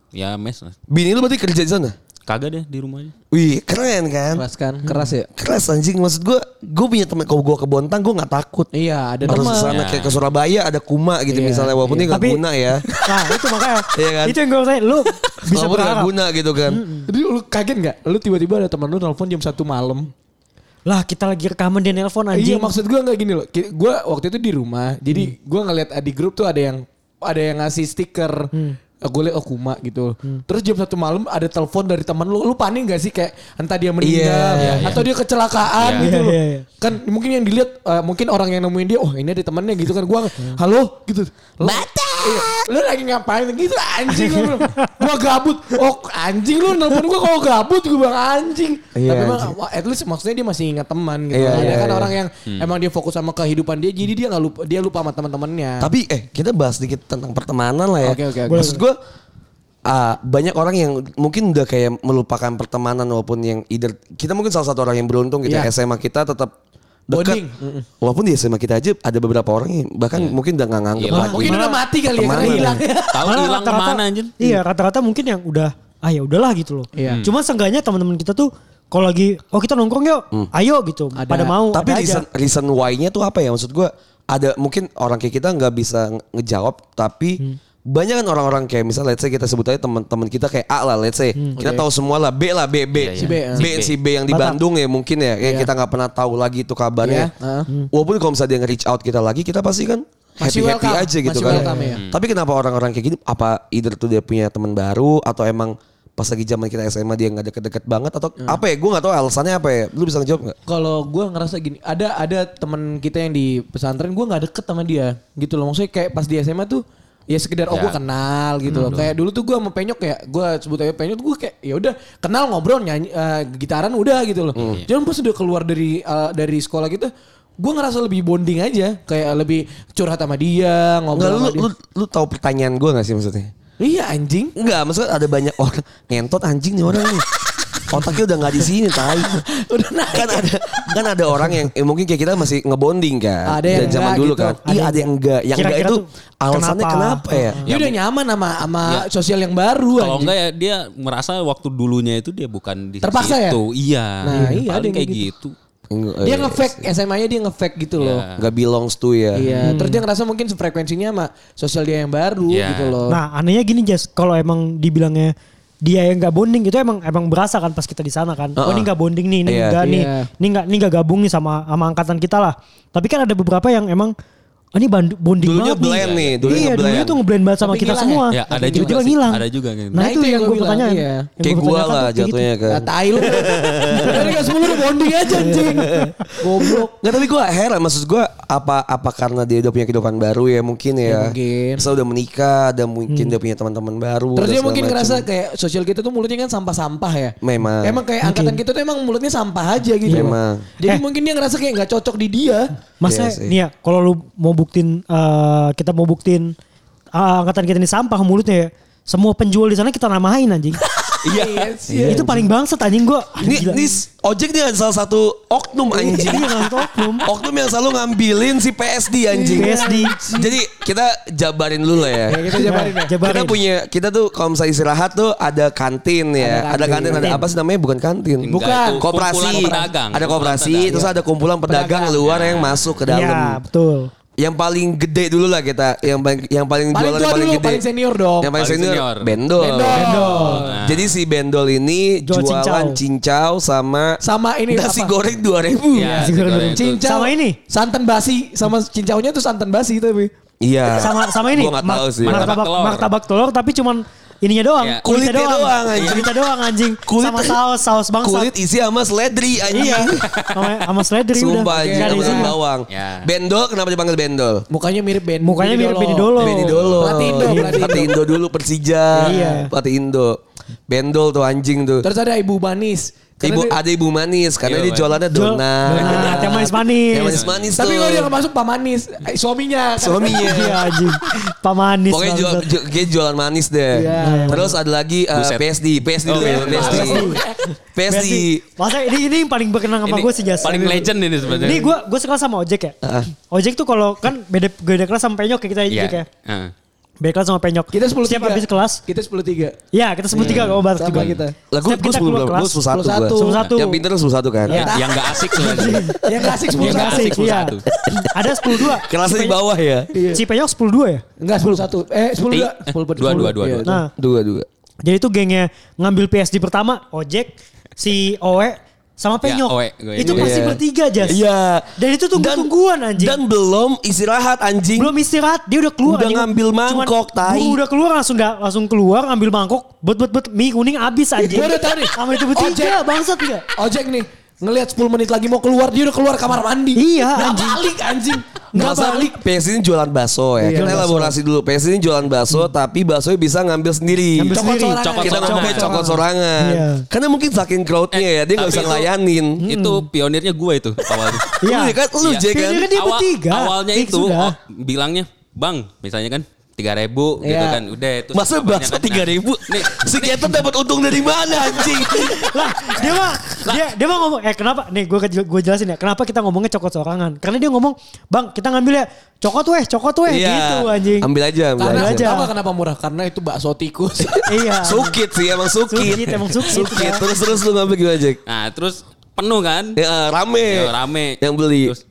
[SPEAKER 5] Ya mes lah.
[SPEAKER 2] bini lu berarti kerja di sana
[SPEAKER 5] Kagak deh di rumahnya.
[SPEAKER 2] wih keren kan
[SPEAKER 3] Keras kan? Keras ya?
[SPEAKER 2] keras anjing maksud gue gue punya temen kalau gue ke Bontang gue nggak takut
[SPEAKER 3] Iya ada
[SPEAKER 2] harus
[SPEAKER 3] teman.
[SPEAKER 2] ke sana kayak ke Surabaya ada kuma gitu misalnya walaupun ini nggak
[SPEAKER 4] Tapi-
[SPEAKER 2] guna ya
[SPEAKER 4] Nah itu makanya.
[SPEAKER 2] Iya kan?
[SPEAKER 4] Itu yang gue tanya. Lu bisa
[SPEAKER 2] walaupun nggak
[SPEAKER 4] berharap.
[SPEAKER 2] guna gitu kan
[SPEAKER 3] Jadi lu kaget gak? Lu tiba-tiba ada teman lu telepon jam 1 malam.
[SPEAKER 4] Lah kita lagi rekaman dia nelpon
[SPEAKER 3] Iya
[SPEAKER 4] anjing.
[SPEAKER 3] maksud gue gak gini loh. Ki- Gua waktu itu di rumah.
[SPEAKER 2] Hmm.
[SPEAKER 3] Jadi gua ngeliat di grup tuh ada yang ada yang ngasih stiker.
[SPEAKER 2] Hmm.
[SPEAKER 3] Gue liat oh kuma gitu. Terus jam satu malam ada telepon dari teman lu. Lu panik gak sih kayak entah dia meninggal
[SPEAKER 2] Iya,
[SPEAKER 3] atau dia kecelakaan
[SPEAKER 5] Iya.
[SPEAKER 3] gitu
[SPEAKER 4] Iya,
[SPEAKER 3] loh.
[SPEAKER 4] iya, iya.
[SPEAKER 3] Kan mungkin yang dilihat eh, mungkin orang yang nemuin dia oh ini ada temannya gitu kan. Gua
[SPEAKER 2] Hmm.
[SPEAKER 3] halo gitu. Lu- Iya. Lu lagi ngapain gitu anjing lu. bilang. Gua gabut. Oh anjing lu nelpon gua kalau gabut gua bilang anjing.
[SPEAKER 2] Iya,
[SPEAKER 3] Tapi emang
[SPEAKER 2] anjing.
[SPEAKER 3] Wah, at least maksudnya dia masih ingat teman gitu.
[SPEAKER 2] Iya,
[SPEAKER 3] ada
[SPEAKER 2] iya,
[SPEAKER 3] kan
[SPEAKER 2] iya.
[SPEAKER 3] orang yang emang dia fokus sama kehidupan dia, jadi dia nggak lupa dia lupa sama teman-temannya.
[SPEAKER 2] Tapi eh kita bahas sedikit tentang pertemanan lah ya.
[SPEAKER 3] Oke, oke, oke.
[SPEAKER 2] Maksud gue ah, banyak orang yang mungkin udah kayak melupakan pertemanan walaupun yang either kita mungkin salah satu orang yang beruntung gitu ya,
[SPEAKER 3] Iya.
[SPEAKER 2] SMA kita tetap dekat.
[SPEAKER 3] Bonding.
[SPEAKER 2] Walaupun di SMA kita aja ada beberapa orang yang bahkan mungkin udah nggak nganggep
[SPEAKER 5] Iya,
[SPEAKER 2] lagi.
[SPEAKER 3] mungkin udah mati kali ya karena
[SPEAKER 2] Teman.
[SPEAKER 3] hilang.
[SPEAKER 5] Tahu
[SPEAKER 4] Malah
[SPEAKER 5] hilang
[SPEAKER 4] rata-rata-
[SPEAKER 5] mana anjir?
[SPEAKER 4] Iya rata-rata mungkin yang udah ah ya udahlah gitu loh.
[SPEAKER 3] Iya.
[SPEAKER 4] Cuma seenggaknya teman-teman kita tuh kalau lagi oh kita nongkrong yuk, ayo gitu.
[SPEAKER 3] Hmm. Ada.
[SPEAKER 4] Pada mau.
[SPEAKER 2] Tapi
[SPEAKER 4] ada aja.
[SPEAKER 2] reason, reason why-nya tuh apa ya? Maksud gue ada mungkin orang kayak kita nggak bisa nge- ngejawab tapi
[SPEAKER 3] Hmm.
[SPEAKER 2] banyak kan orang-orang kayak misalnya let's say kita sebut aja teman-teman kita kayak A lah let's say kita tahu semua lah B lah B B
[SPEAKER 3] Hmm, Si B, ya.
[SPEAKER 2] B si B yang di
[SPEAKER 4] Batak.
[SPEAKER 2] Bandung ya mungkin ya kayak kita nggak pernah tahu lagi itu kabarnya Hmm.
[SPEAKER 3] Iya, heeh.
[SPEAKER 2] walaupun kalau misalnya dia nge-reach out kita lagi kita pasti kan happy
[SPEAKER 3] Masih
[SPEAKER 2] happy
[SPEAKER 3] welcome,
[SPEAKER 2] aja gitu
[SPEAKER 3] masih
[SPEAKER 2] kan
[SPEAKER 3] welcome, ya.
[SPEAKER 2] tapi kenapa orang-orang kayak gini apa either tuh dia punya teman baru atau emang pas lagi zaman kita SMA dia nggak deket-deket banget atau
[SPEAKER 3] Iya.
[SPEAKER 2] apa ya gue nggak tahu alasannya apa ya lu bisa ngejawab nggak
[SPEAKER 3] Kalau gue ngerasa gini, ada ada teman kita yang di pesantren gue nggak deket sama dia, gitu loh. Maksudnya kayak pas di SMA tuh ya sekedar oh
[SPEAKER 5] Ya.
[SPEAKER 3] gue kenal gitu
[SPEAKER 2] Hmm.
[SPEAKER 3] loh. Kayak dulu tuh gue sama Penyok ya, gue sebut aja Penyok gue kayak ya udah kenal ngobrol nyanyi eh, gitaran udah gitu loh.
[SPEAKER 2] Hmm.
[SPEAKER 3] Jangan pas udah keluar dari eh, dari sekolah gitu, gue ngerasa lebih bonding aja, kayak lebih curhat sama dia,
[SPEAKER 2] Enggak
[SPEAKER 3] ngobrol
[SPEAKER 2] lu,
[SPEAKER 3] Oh, sama dia.
[SPEAKER 2] lu lu tahu pertanyaan gue gak sih maksudnya?
[SPEAKER 3] Iya anjing.
[SPEAKER 2] Enggak, maksudnya ada banyak orang ngentot anjing nih orang nih. Otaknya udah nggak di sini, tai.
[SPEAKER 3] Udah naik.
[SPEAKER 2] Kan ada kan ada orang yang eh, mungkin kayak kita masih ngebonding kan.
[SPEAKER 3] Ada yang
[SPEAKER 2] Dan zaman
[SPEAKER 3] enggak
[SPEAKER 2] dulu
[SPEAKER 3] gitu.
[SPEAKER 2] kan. Iya, ada yang enggak. Yang enggak
[SPEAKER 4] Kira-kira
[SPEAKER 2] itu
[SPEAKER 4] tuh
[SPEAKER 2] alasannya
[SPEAKER 4] kenapa?
[SPEAKER 2] kenapa, ya?
[SPEAKER 3] Dia udah nyaman sama sama
[SPEAKER 2] Iya.
[SPEAKER 5] Ya.
[SPEAKER 3] sosial yang baru
[SPEAKER 5] Kalau
[SPEAKER 3] anjing.
[SPEAKER 5] enggak ya dia merasa waktu dulunya itu dia bukan di
[SPEAKER 3] Terpaksa ya?
[SPEAKER 5] situ. Iya.
[SPEAKER 3] Nah, iya, ada
[SPEAKER 5] Paling
[SPEAKER 3] yang
[SPEAKER 5] kayak
[SPEAKER 3] kayak
[SPEAKER 5] gitu.
[SPEAKER 2] Enggak,
[SPEAKER 3] Dia
[SPEAKER 2] eh,
[SPEAKER 3] nge-fake SMA-nya dia nge-fake gitu loh.
[SPEAKER 2] Enggak belongs to ya.
[SPEAKER 3] Iya, terus dia ngerasa mungkin frekuensinya sama sosial dia yang baru
[SPEAKER 5] Iya.
[SPEAKER 3] gitu loh.
[SPEAKER 4] Nah anehnya gini Jess, kalau emang dibilangnya dia yang nggak bonding itu emang emang berasa kan pas kita di sana kan. Oh
[SPEAKER 2] Uh-uh.
[SPEAKER 4] ini nggak bonding nih, ini
[SPEAKER 2] Iya.
[SPEAKER 4] enggak nih,
[SPEAKER 3] Iya.
[SPEAKER 4] ini nggak ini nggak gabung nih sama sama angkatan kita lah. Tapi kan ada beberapa yang emang "Ah, ini bandu- bonding
[SPEAKER 2] Dulunya
[SPEAKER 4] banget
[SPEAKER 2] blend nih,
[SPEAKER 4] Dulunya
[SPEAKER 2] dulunya
[SPEAKER 4] iya, dulunya
[SPEAKER 2] ngeblend.
[SPEAKER 4] tuh ngeblend banget sama
[SPEAKER 3] Tapi
[SPEAKER 4] kita
[SPEAKER 3] ngilang
[SPEAKER 4] semua.
[SPEAKER 5] ya? Ya, ada
[SPEAKER 4] Tapi
[SPEAKER 5] juga
[SPEAKER 4] tiba-tiba
[SPEAKER 5] sih.
[SPEAKER 4] ngilang.
[SPEAKER 5] Ada juga kayak gitu.
[SPEAKER 4] Nah, itu, yang gue
[SPEAKER 3] bilang,
[SPEAKER 4] pertanyaan.
[SPEAKER 3] iya.
[SPEAKER 4] Yang
[SPEAKER 2] Kayak
[SPEAKER 4] gua
[SPEAKER 2] gue lah
[SPEAKER 4] pertanyakan tuh kayak gitu.
[SPEAKER 2] jatuhnya kan.
[SPEAKER 3] Nah, tai lu. Dari gak semua lu bonding aja anjing. Goblok.
[SPEAKER 2] Nggak tapi gue heran maksud gue apa apa karena dia udah punya kehidupan baru ya mungkin ya.
[SPEAKER 3] mungkin. Hmm.
[SPEAKER 2] Misalnya udah menikah, ada mungkin dia punya teman-teman baru.
[SPEAKER 3] Terus
[SPEAKER 2] dan
[SPEAKER 3] dia
[SPEAKER 2] segala
[SPEAKER 3] mungkin
[SPEAKER 2] macem.
[SPEAKER 3] ngerasa kayak sosial kita tuh mulutnya kan sampah-sampah ya.
[SPEAKER 2] Memang.
[SPEAKER 3] Emang kayak angkatan kita tuh emang mulutnya sampah aja gitu. loh.
[SPEAKER 2] Memang.
[SPEAKER 3] Jadi
[SPEAKER 4] Eh.
[SPEAKER 3] mungkin dia ngerasa kayak nggak cocok di dia.
[SPEAKER 4] Masa
[SPEAKER 2] Iya sih.
[SPEAKER 4] nih ya kalau lu mau buktiin eh, kita mau buktiin eh, angkatan kita ini sampah mulutnya ya. Semua penjual di sana kita namain anjing.
[SPEAKER 5] Iya.
[SPEAKER 4] Itu paling bangsa anjing gue.
[SPEAKER 2] Ini, ini ojek dia salah satu oknum anjing.
[SPEAKER 4] Iya, salah satu oknum.
[SPEAKER 2] Oknum yang selalu ngambilin si PSD anjing.
[SPEAKER 4] PSD.
[SPEAKER 2] Jadi kita jabarin dulu lah ya.
[SPEAKER 3] Ya,
[SPEAKER 4] iya, Nah,
[SPEAKER 3] kita jabarin ya.
[SPEAKER 2] Kita punya kita tuh kalau misalnya istirahat tuh ada kantin ya. Ada
[SPEAKER 3] Ada
[SPEAKER 2] kantin, ada
[SPEAKER 3] kantin.
[SPEAKER 2] apa sih namanya? Bukan kantin.
[SPEAKER 5] Enggak, itu
[SPEAKER 2] Koperasi.
[SPEAKER 5] kumpulan pedagang.
[SPEAKER 2] Ada
[SPEAKER 5] Kumpulan
[SPEAKER 2] koperasi,
[SPEAKER 5] pedagang.
[SPEAKER 2] terus ada kumpulan pedagang
[SPEAKER 3] Pedagang.
[SPEAKER 2] luar yang masuk ke
[SPEAKER 4] Iya,
[SPEAKER 2] dalam.
[SPEAKER 4] betul.
[SPEAKER 2] Yang paling gede dulu lah kita, yang paling yang paling,
[SPEAKER 3] Paling
[SPEAKER 2] jualan
[SPEAKER 3] tua
[SPEAKER 2] paling
[SPEAKER 3] dulu,
[SPEAKER 2] gede.
[SPEAKER 3] paling senior dong.
[SPEAKER 2] Yang paling,
[SPEAKER 5] Paling
[SPEAKER 2] senior,
[SPEAKER 5] senior.
[SPEAKER 2] Bendol.
[SPEAKER 3] Bendol.
[SPEAKER 5] Nah.
[SPEAKER 2] Jadi si Bendol ini
[SPEAKER 4] Jual
[SPEAKER 2] jualan cincau, sama
[SPEAKER 3] Sama ini
[SPEAKER 2] nasi
[SPEAKER 3] apa?
[SPEAKER 2] goreng 2000.
[SPEAKER 5] Iya,
[SPEAKER 4] Nasi goreng
[SPEAKER 5] goreng itu.
[SPEAKER 4] cincin.
[SPEAKER 3] Cincau.
[SPEAKER 4] Sama ini?
[SPEAKER 3] Santan basi. Sama cincaunya tuh santan basi tapi.
[SPEAKER 2] Iya.
[SPEAKER 4] Sama sama ini.
[SPEAKER 2] Gua nggak
[SPEAKER 4] mar-
[SPEAKER 2] tahu sih.
[SPEAKER 4] Martabak
[SPEAKER 5] Martabak telur.
[SPEAKER 4] martabak telur tapi cuman ininya doang.
[SPEAKER 5] Iya.
[SPEAKER 4] Kulitnya,
[SPEAKER 2] Kulitnya
[SPEAKER 4] doang.
[SPEAKER 2] doang, anjing.
[SPEAKER 4] Kulitnya doang anjing.
[SPEAKER 2] Kulit-
[SPEAKER 4] sama saus saus bangsa.
[SPEAKER 2] Kulit isi sama seledri anjing.
[SPEAKER 4] Iya. sama sama seledri udah.
[SPEAKER 2] Sumpah anjing
[SPEAKER 4] Nggak ada
[SPEAKER 2] sama
[SPEAKER 4] isinya.
[SPEAKER 2] bawang.
[SPEAKER 5] Iya.
[SPEAKER 2] Bendol kenapa dipanggil bendol?
[SPEAKER 3] Mukanya mirip Ben.
[SPEAKER 4] Mukanya mirip Benny Dolo.
[SPEAKER 2] Beni Dolo.
[SPEAKER 3] Pelatih Indo, pelatih
[SPEAKER 2] Pelatih
[SPEAKER 3] Indo.
[SPEAKER 2] Indo dulu Persija.
[SPEAKER 4] Iya.
[SPEAKER 2] Pelatih Indo. Bendol tuh anjing tuh.
[SPEAKER 3] Terus ada Ibu Manis. Karena
[SPEAKER 2] Ibu,
[SPEAKER 3] dia-
[SPEAKER 2] ada ibu manis karena
[SPEAKER 5] Iya,
[SPEAKER 2] dia jualannya
[SPEAKER 4] Jual-
[SPEAKER 2] donat.
[SPEAKER 4] donat, Nah, yang manis-manis.
[SPEAKER 2] Yang manis-manis
[SPEAKER 3] tapi
[SPEAKER 2] tuh.
[SPEAKER 3] kalau dia nggak masuk Pak Manis, eh, suaminya.
[SPEAKER 2] Suaminya.
[SPEAKER 4] Iya anjing. Pamanis.
[SPEAKER 2] ya. Pokoknya jual,
[SPEAKER 4] bangsat.
[SPEAKER 2] ju- dia jualan manis deh.
[SPEAKER 3] Iya.
[SPEAKER 2] Terus ada lagi eh,
[SPEAKER 5] Buset.
[SPEAKER 2] PSD, PSD
[SPEAKER 5] Oh,
[SPEAKER 2] dulu,
[SPEAKER 5] PSD.
[SPEAKER 2] PSD. PSD.
[SPEAKER 4] Berarti, Masa ini ini yang paling berkenan sama
[SPEAKER 5] Ini
[SPEAKER 4] gue sejak
[SPEAKER 5] Paling legend ini sebenarnya.
[SPEAKER 4] Ini gue gue sekelas sama ojek ya. Ojek tuh kalau kan beda beda kelas sama penyok ya kita
[SPEAKER 5] Iya.
[SPEAKER 4] ojek ya.
[SPEAKER 5] Heeh.
[SPEAKER 4] Beda kelas sama penyok.
[SPEAKER 3] Kita 10
[SPEAKER 4] Setiap habis kelas.
[SPEAKER 3] Kita 10 tiga.
[SPEAKER 4] Ya kita sebut
[SPEAKER 5] Iya.
[SPEAKER 4] tiga kalau barat
[SPEAKER 3] Sama
[SPEAKER 4] juga.
[SPEAKER 3] kita.
[SPEAKER 2] Lah gue
[SPEAKER 4] Setiap kita keluar
[SPEAKER 2] 10 berapa?
[SPEAKER 4] kelas.
[SPEAKER 2] Gue 11 gua.
[SPEAKER 4] 11.
[SPEAKER 2] Nah, Yang pintar 11 kan.
[SPEAKER 4] Iya.
[SPEAKER 5] Ya, yang gak asik sebenarnya.
[SPEAKER 3] Yang klasik 10
[SPEAKER 5] Yang
[SPEAKER 4] Nggak
[SPEAKER 5] nggak
[SPEAKER 3] satu.
[SPEAKER 4] asik,
[SPEAKER 5] asik,
[SPEAKER 4] iya.
[SPEAKER 5] 11.
[SPEAKER 4] Ada 10 2.
[SPEAKER 2] Kelasnya di bawah ya.
[SPEAKER 4] Cipeyok 10 2 ya.
[SPEAKER 3] Enggak 10 satu. Eh 10 dua.
[SPEAKER 5] Ti-
[SPEAKER 3] 10
[SPEAKER 5] dua, dua, dua,
[SPEAKER 3] Iya,
[SPEAKER 5] dua.
[SPEAKER 4] Nah,
[SPEAKER 2] Dua dua.
[SPEAKER 4] jadi itu gengnya ngambil PSD pertama, Ojek, si Oe sama Penyok.
[SPEAKER 5] Oe, Iya, E, gue
[SPEAKER 4] itu
[SPEAKER 5] ingat.
[SPEAKER 4] pasti
[SPEAKER 2] Iya.
[SPEAKER 4] bertiga, Jas.
[SPEAKER 2] Iya.
[SPEAKER 4] Dan itu tunggu-tungguan anjing.
[SPEAKER 2] Dan belum istirahat anjing.
[SPEAKER 4] belum istirahat, dia udah keluar.
[SPEAKER 2] Udah
[SPEAKER 4] anjing.
[SPEAKER 2] ngambil mangkok, tai.
[SPEAKER 4] buru udah keluar langsung da- langsung keluar ngambil mangkok, bet bet bet mie kuning habis
[SPEAKER 2] Iya,
[SPEAKER 4] anjing.
[SPEAKER 3] Gua udah tahu nih.
[SPEAKER 4] Sama itu bertiga,
[SPEAKER 3] Ojek.
[SPEAKER 4] bangsat iya. enggak?
[SPEAKER 3] Nah. Ojek nih ngelihat 10 menit lagi mau keluar dia udah keluar kamar mandi.
[SPEAKER 4] Iya,
[SPEAKER 3] Nggak
[SPEAKER 4] anjing.
[SPEAKER 3] balik anjing. Nggak
[SPEAKER 2] Nggak
[SPEAKER 3] balik.
[SPEAKER 2] balik. PS ini jualan bakso ya.
[SPEAKER 3] Iya,
[SPEAKER 2] Kita
[SPEAKER 3] bakso.
[SPEAKER 2] elaborasi dulu. PS ini jualan bakso tapi baksonya bisa ngambil sendiri.
[SPEAKER 4] Hmm. Ngambil
[SPEAKER 2] Cokot-
[SPEAKER 4] sendiri.
[SPEAKER 3] sorangan.
[SPEAKER 5] Cokot
[SPEAKER 2] Kita
[SPEAKER 5] sorangan.
[SPEAKER 2] ngomongnya cokot sorangan.
[SPEAKER 4] Iya.
[SPEAKER 2] Karena mungkin saking crowdnya ya. Dia gak bisa
[SPEAKER 5] Tapi itu- Hmm.
[SPEAKER 2] ngelayanin.
[SPEAKER 5] Itu pionirnya gue itu
[SPEAKER 2] Iya.
[SPEAKER 5] awal.
[SPEAKER 4] Iya.
[SPEAKER 2] kan lu
[SPEAKER 5] Iya.
[SPEAKER 2] Jay kan.
[SPEAKER 4] Pionirnya dia bertiga.
[SPEAKER 5] Awalnya
[SPEAKER 4] Fix
[SPEAKER 5] itu
[SPEAKER 4] udah.
[SPEAKER 5] oh, bilangnya, Bang, misalnya kan tiga ribu gitu
[SPEAKER 3] Iya.
[SPEAKER 5] kan udah itu kan,
[SPEAKER 2] Masa bakso 3000 ribu?
[SPEAKER 5] nih
[SPEAKER 2] Si Ketan dapat untung dari mana anjing?
[SPEAKER 4] lah dia mah dia dia mah ngomong eh kenapa nih gue gue jelasin ya kenapa kita ngomongnya cokot sorangan karena dia ngomong bang kita ngambil ya cokot weh cokot weh gitu anjing
[SPEAKER 2] Iya. Ambil aja. Ambil aja.
[SPEAKER 3] Karena
[SPEAKER 4] Ambil Iya aja.
[SPEAKER 3] tau nggak kenapa murah? Karena itu bakso tikus.
[SPEAKER 4] iya
[SPEAKER 2] Sukit sih emang sukit.
[SPEAKER 4] Sukit, emang sukit. ya.
[SPEAKER 2] Terus-terus lu ngambil gimana Jack?
[SPEAKER 5] nah terus penuh kan
[SPEAKER 2] Ya, rame.
[SPEAKER 5] ya, rame
[SPEAKER 2] Yang beli.
[SPEAKER 5] Terus,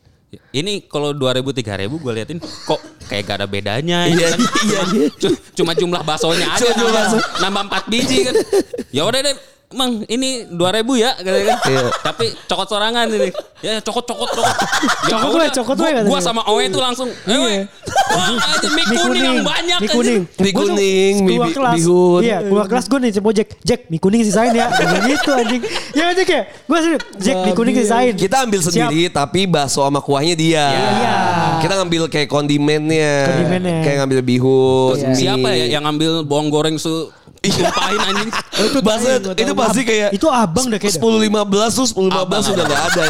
[SPEAKER 5] ini kalau 2000 3000 gue liatin kok kayak gak ada bedanya
[SPEAKER 2] Iya,
[SPEAKER 5] ya kan?
[SPEAKER 2] iya, iya.
[SPEAKER 5] Cu- cuma jumlah baksonya aja
[SPEAKER 2] Cuma jumlah bakso.
[SPEAKER 5] nambah 4 biji kan ya udah deh Mang ini 2000 ya katanya kan.
[SPEAKER 2] Iya.
[SPEAKER 5] Tapi cokot sorangan ini. Ya cokot cokot cokot. Ya
[SPEAKER 4] Cokot
[SPEAKER 5] udah,
[SPEAKER 4] gue, cokot
[SPEAKER 5] gua-
[SPEAKER 4] gue katanya. Iya.
[SPEAKER 5] Gua sama Owe itu langsung. Eh, Owe, wah, aja mie kuning yang banyak
[SPEAKER 4] mie
[SPEAKER 5] aja."
[SPEAKER 4] kuning
[SPEAKER 2] Mie
[SPEAKER 4] Gua tuh
[SPEAKER 2] kuning, mie
[SPEAKER 4] keluar
[SPEAKER 2] bi-
[SPEAKER 4] kelas
[SPEAKER 2] bihun.
[SPEAKER 4] iya keluar kelas gue nih sama Jack Jack mie kuning sisain ya Gua gitu anjing ya Jack ya gue sih Jack mie kuning sisain
[SPEAKER 2] Kita ambil sendiri tapi bakso sama kuahnya dia.
[SPEAKER 4] Iya.
[SPEAKER 2] Kita ngambil kayak kondimennya.
[SPEAKER 4] Kondimennya.
[SPEAKER 2] Kayak ngambil bihun.
[SPEAKER 3] Iya.
[SPEAKER 2] mie.
[SPEAKER 5] Siapa ya yang ngambil bawang goreng se tumpahin anjing?
[SPEAKER 2] itu bahasa
[SPEAKER 3] gua tahu.
[SPEAKER 2] itu pasti kayak
[SPEAKER 4] itu abang dah kayaknya.
[SPEAKER 2] 10 15 tuh 10
[SPEAKER 5] Abang,
[SPEAKER 2] 15 sudah enggak ada.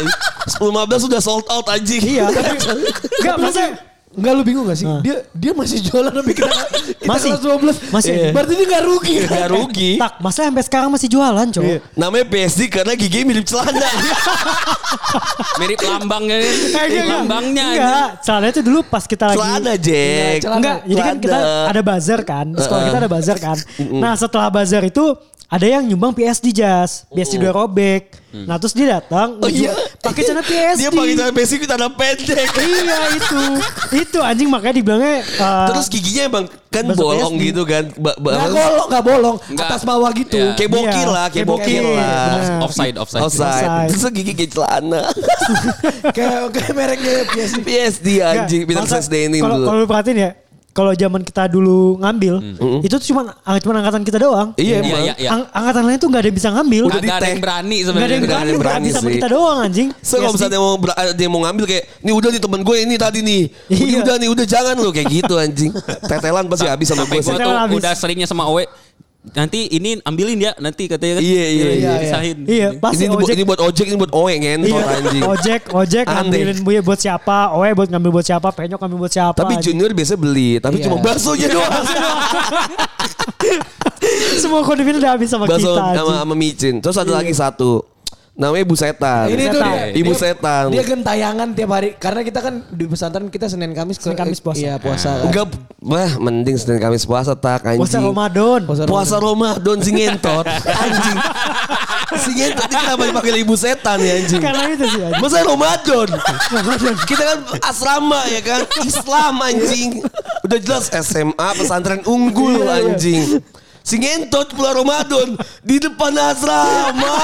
[SPEAKER 2] 10 15 sudah sold out anjing.
[SPEAKER 4] iya enggak maksudnya
[SPEAKER 3] Enggak lu bingung gak sih? Dia dia masih jualan tapi kita kita
[SPEAKER 4] Masih.
[SPEAKER 3] kelas 12.
[SPEAKER 4] Masih.
[SPEAKER 3] Iya. Berarti dia gak rugi.
[SPEAKER 2] Enggak rugi.
[SPEAKER 4] tak masalah sampai sekarang masih jualan coy
[SPEAKER 3] Iya.
[SPEAKER 2] Namanya PSD karena gigi mirip celana.
[SPEAKER 4] Iya,
[SPEAKER 5] Mirip
[SPEAKER 4] Eh,
[SPEAKER 5] lambangnya.
[SPEAKER 4] enggak, enggak.
[SPEAKER 5] lambangnya anjing.
[SPEAKER 4] Enggak, celananya itu dulu pas kita lagi
[SPEAKER 2] celana, Jack.
[SPEAKER 3] celana.
[SPEAKER 4] Enggak, jadi kan kita
[SPEAKER 2] Lada.
[SPEAKER 4] ada bazar kan. Di sekolah kita ada bazar kan. Nah setelah bazar itu ada yang nyumbang PSD jas. PSD udah robek. Nah terus dia
[SPEAKER 2] Mm.
[SPEAKER 4] datang
[SPEAKER 2] Oh, iya.
[SPEAKER 4] ngejual- pakai celana PSD.
[SPEAKER 2] Dia pakai celana PSD kita ada pendek.
[SPEAKER 4] Iya itu. itu anjing makanya dibilangnya eh,
[SPEAKER 2] Terus giginya emang kan
[SPEAKER 4] Bakso
[SPEAKER 2] bolong
[SPEAKER 4] PSD.
[SPEAKER 2] gitu kan. Ba- ba-
[SPEAKER 3] Gak bolong, gak bolong.
[SPEAKER 5] Nggak.
[SPEAKER 3] Atas bawah gitu.
[SPEAKER 5] Iya.
[SPEAKER 2] Kayak bokir
[SPEAKER 4] Iya,
[SPEAKER 2] lah, kayak
[SPEAKER 4] kayak
[SPEAKER 2] bokir
[SPEAKER 4] bokir.
[SPEAKER 2] lah.
[SPEAKER 4] Benar.
[SPEAKER 5] Offside, offside.
[SPEAKER 2] Offside.
[SPEAKER 4] Offside.
[SPEAKER 2] Terus gigi kayak celana.
[SPEAKER 3] Kayak kayak mereknya biasa.
[SPEAKER 2] PSD
[SPEAKER 4] enggak,
[SPEAKER 2] anjing, Peter
[SPEAKER 4] masa-
[SPEAKER 2] Ses Denim
[SPEAKER 4] Kalau kalau
[SPEAKER 2] dulu. Mm.
[SPEAKER 4] lu perhatiin ya, kalau zaman kita dulu ngambil, itu tuh cuman cuman angkatan kita doang.
[SPEAKER 2] Iya
[SPEAKER 5] Iya,
[SPEAKER 2] emang.
[SPEAKER 5] iya, iya.
[SPEAKER 4] Ang- angkatan lain tuh nggak ada yang bisa ngambil.
[SPEAKER 2] Udah
[SPEAKER 5] Agak ada
[SPEAKER 2] di-tag.
[SPEAKER 5] yang berani
[SPEAKER 4] Nggak ada
[SPEAKER 5] sebenarnya.
[SPEAKER 4] yang
[SPEAKER 2] nggak ada
[SPEAKER 4] berani,
[SPEAKER 2] yang berani
[SPEAKER 4] berani sama
[SPEAKER 2] sih.
[SPEAKER 4] kita doang anjing.
[SPEAKER 2] So kalau
[SPEAKER 4] PSD.
[SPEAKER 2] misalnya mau ber- dia mau ngambil kayak ini udah nih temen gue ini tadi nih. Udah,
[SPEAKER 4] Iya.
[SPEAKER 2] udah nih udah jangan lo kayak gitu anjing. Tetelan pasti habis sama
[SPEAKER 5] Sampai
[SPEAKER 2] gue
[SPEAKER 5] gue
[SPEAKER 2] sih.
[SPEAKER 4] Sampai
[SPEAKER 5] tuh
[SPEAKER 4] habis.
[SPEAKER 5] udah seringnya sama Owe Nanti ini ambilin ya nanti katanya kan.
[SPEAKER 2] Iya, iya,
[SPEAKER 3] iya.
[SPEAKER 5] Disahin.
[SPEAKER 4] Iya,
[SPEAKER 2] Ini,
[SPEAKER 4] pasti
[SPEAKER 2] dibu-
[SPEAKER 4] ojek.
[SPEAKER 2] ini buat ojek, ini buat oe ngentot anjing.
[SPEAKER 4] Iya, ojek, ojek
[SPEAKER 2] Aneh.
[SPEAKER 4] ngambilin buaya buat siapa, oe buat ngambil buat siapa, penyok ngambil buat siapa.
[SPEAKER 2] Tapi
[SPEAKER 4] anjing.
[SPEAKER 2] junior biasa beli, tapi
[SPEAKER 3] Iya.
[SPEAKER 2] cuma baksonya doang.
[SPEAKER 4] semua kondimen udah habis sama
[SPEAKER 2] Bakso
[SPEAKER 4] kita.
[SPEAKER 2] sama,
[SPEAKER 4] anjing.
[SPEAKER 2] sama micin. Terus ada lagi satu. Namanya Ibu Setan.
[SPEAKER 3] Ini tuh dia,
[SPEAKER 2] Ibu
[SPEAKER 3] dia-
[SPEAKER 2] Setan.
[SPEAKER 3] Dia gentayangan tiap hari karena kita kan di pesantren kita Senin Kamis ke-
[SPEAKER 4] Senin, Kamis puasa.
[SPEAKER 3] Iya, puasa. kan.
[SPEAKER 2] Enggak, wah mending Senin Kamis puasa tak anjing.
[SPEAKER 4] Puasa Ramadan.
[SPEAKER 3] Puasa
[SPEAKER 2] Puasa Ramadan si ngentot anjing. Si ngentot ini kenapa dipanggil ibu setan ya anjing?
[SPEAKER 4] Karena itu sih. anjing.
[SPEAKER 2] Masa Ramadan? Kita kan asrama ya kan Islam anjing Udah jelas SMA pesantren unggul anjing Si ngentot pula Ramadan Di depan asrama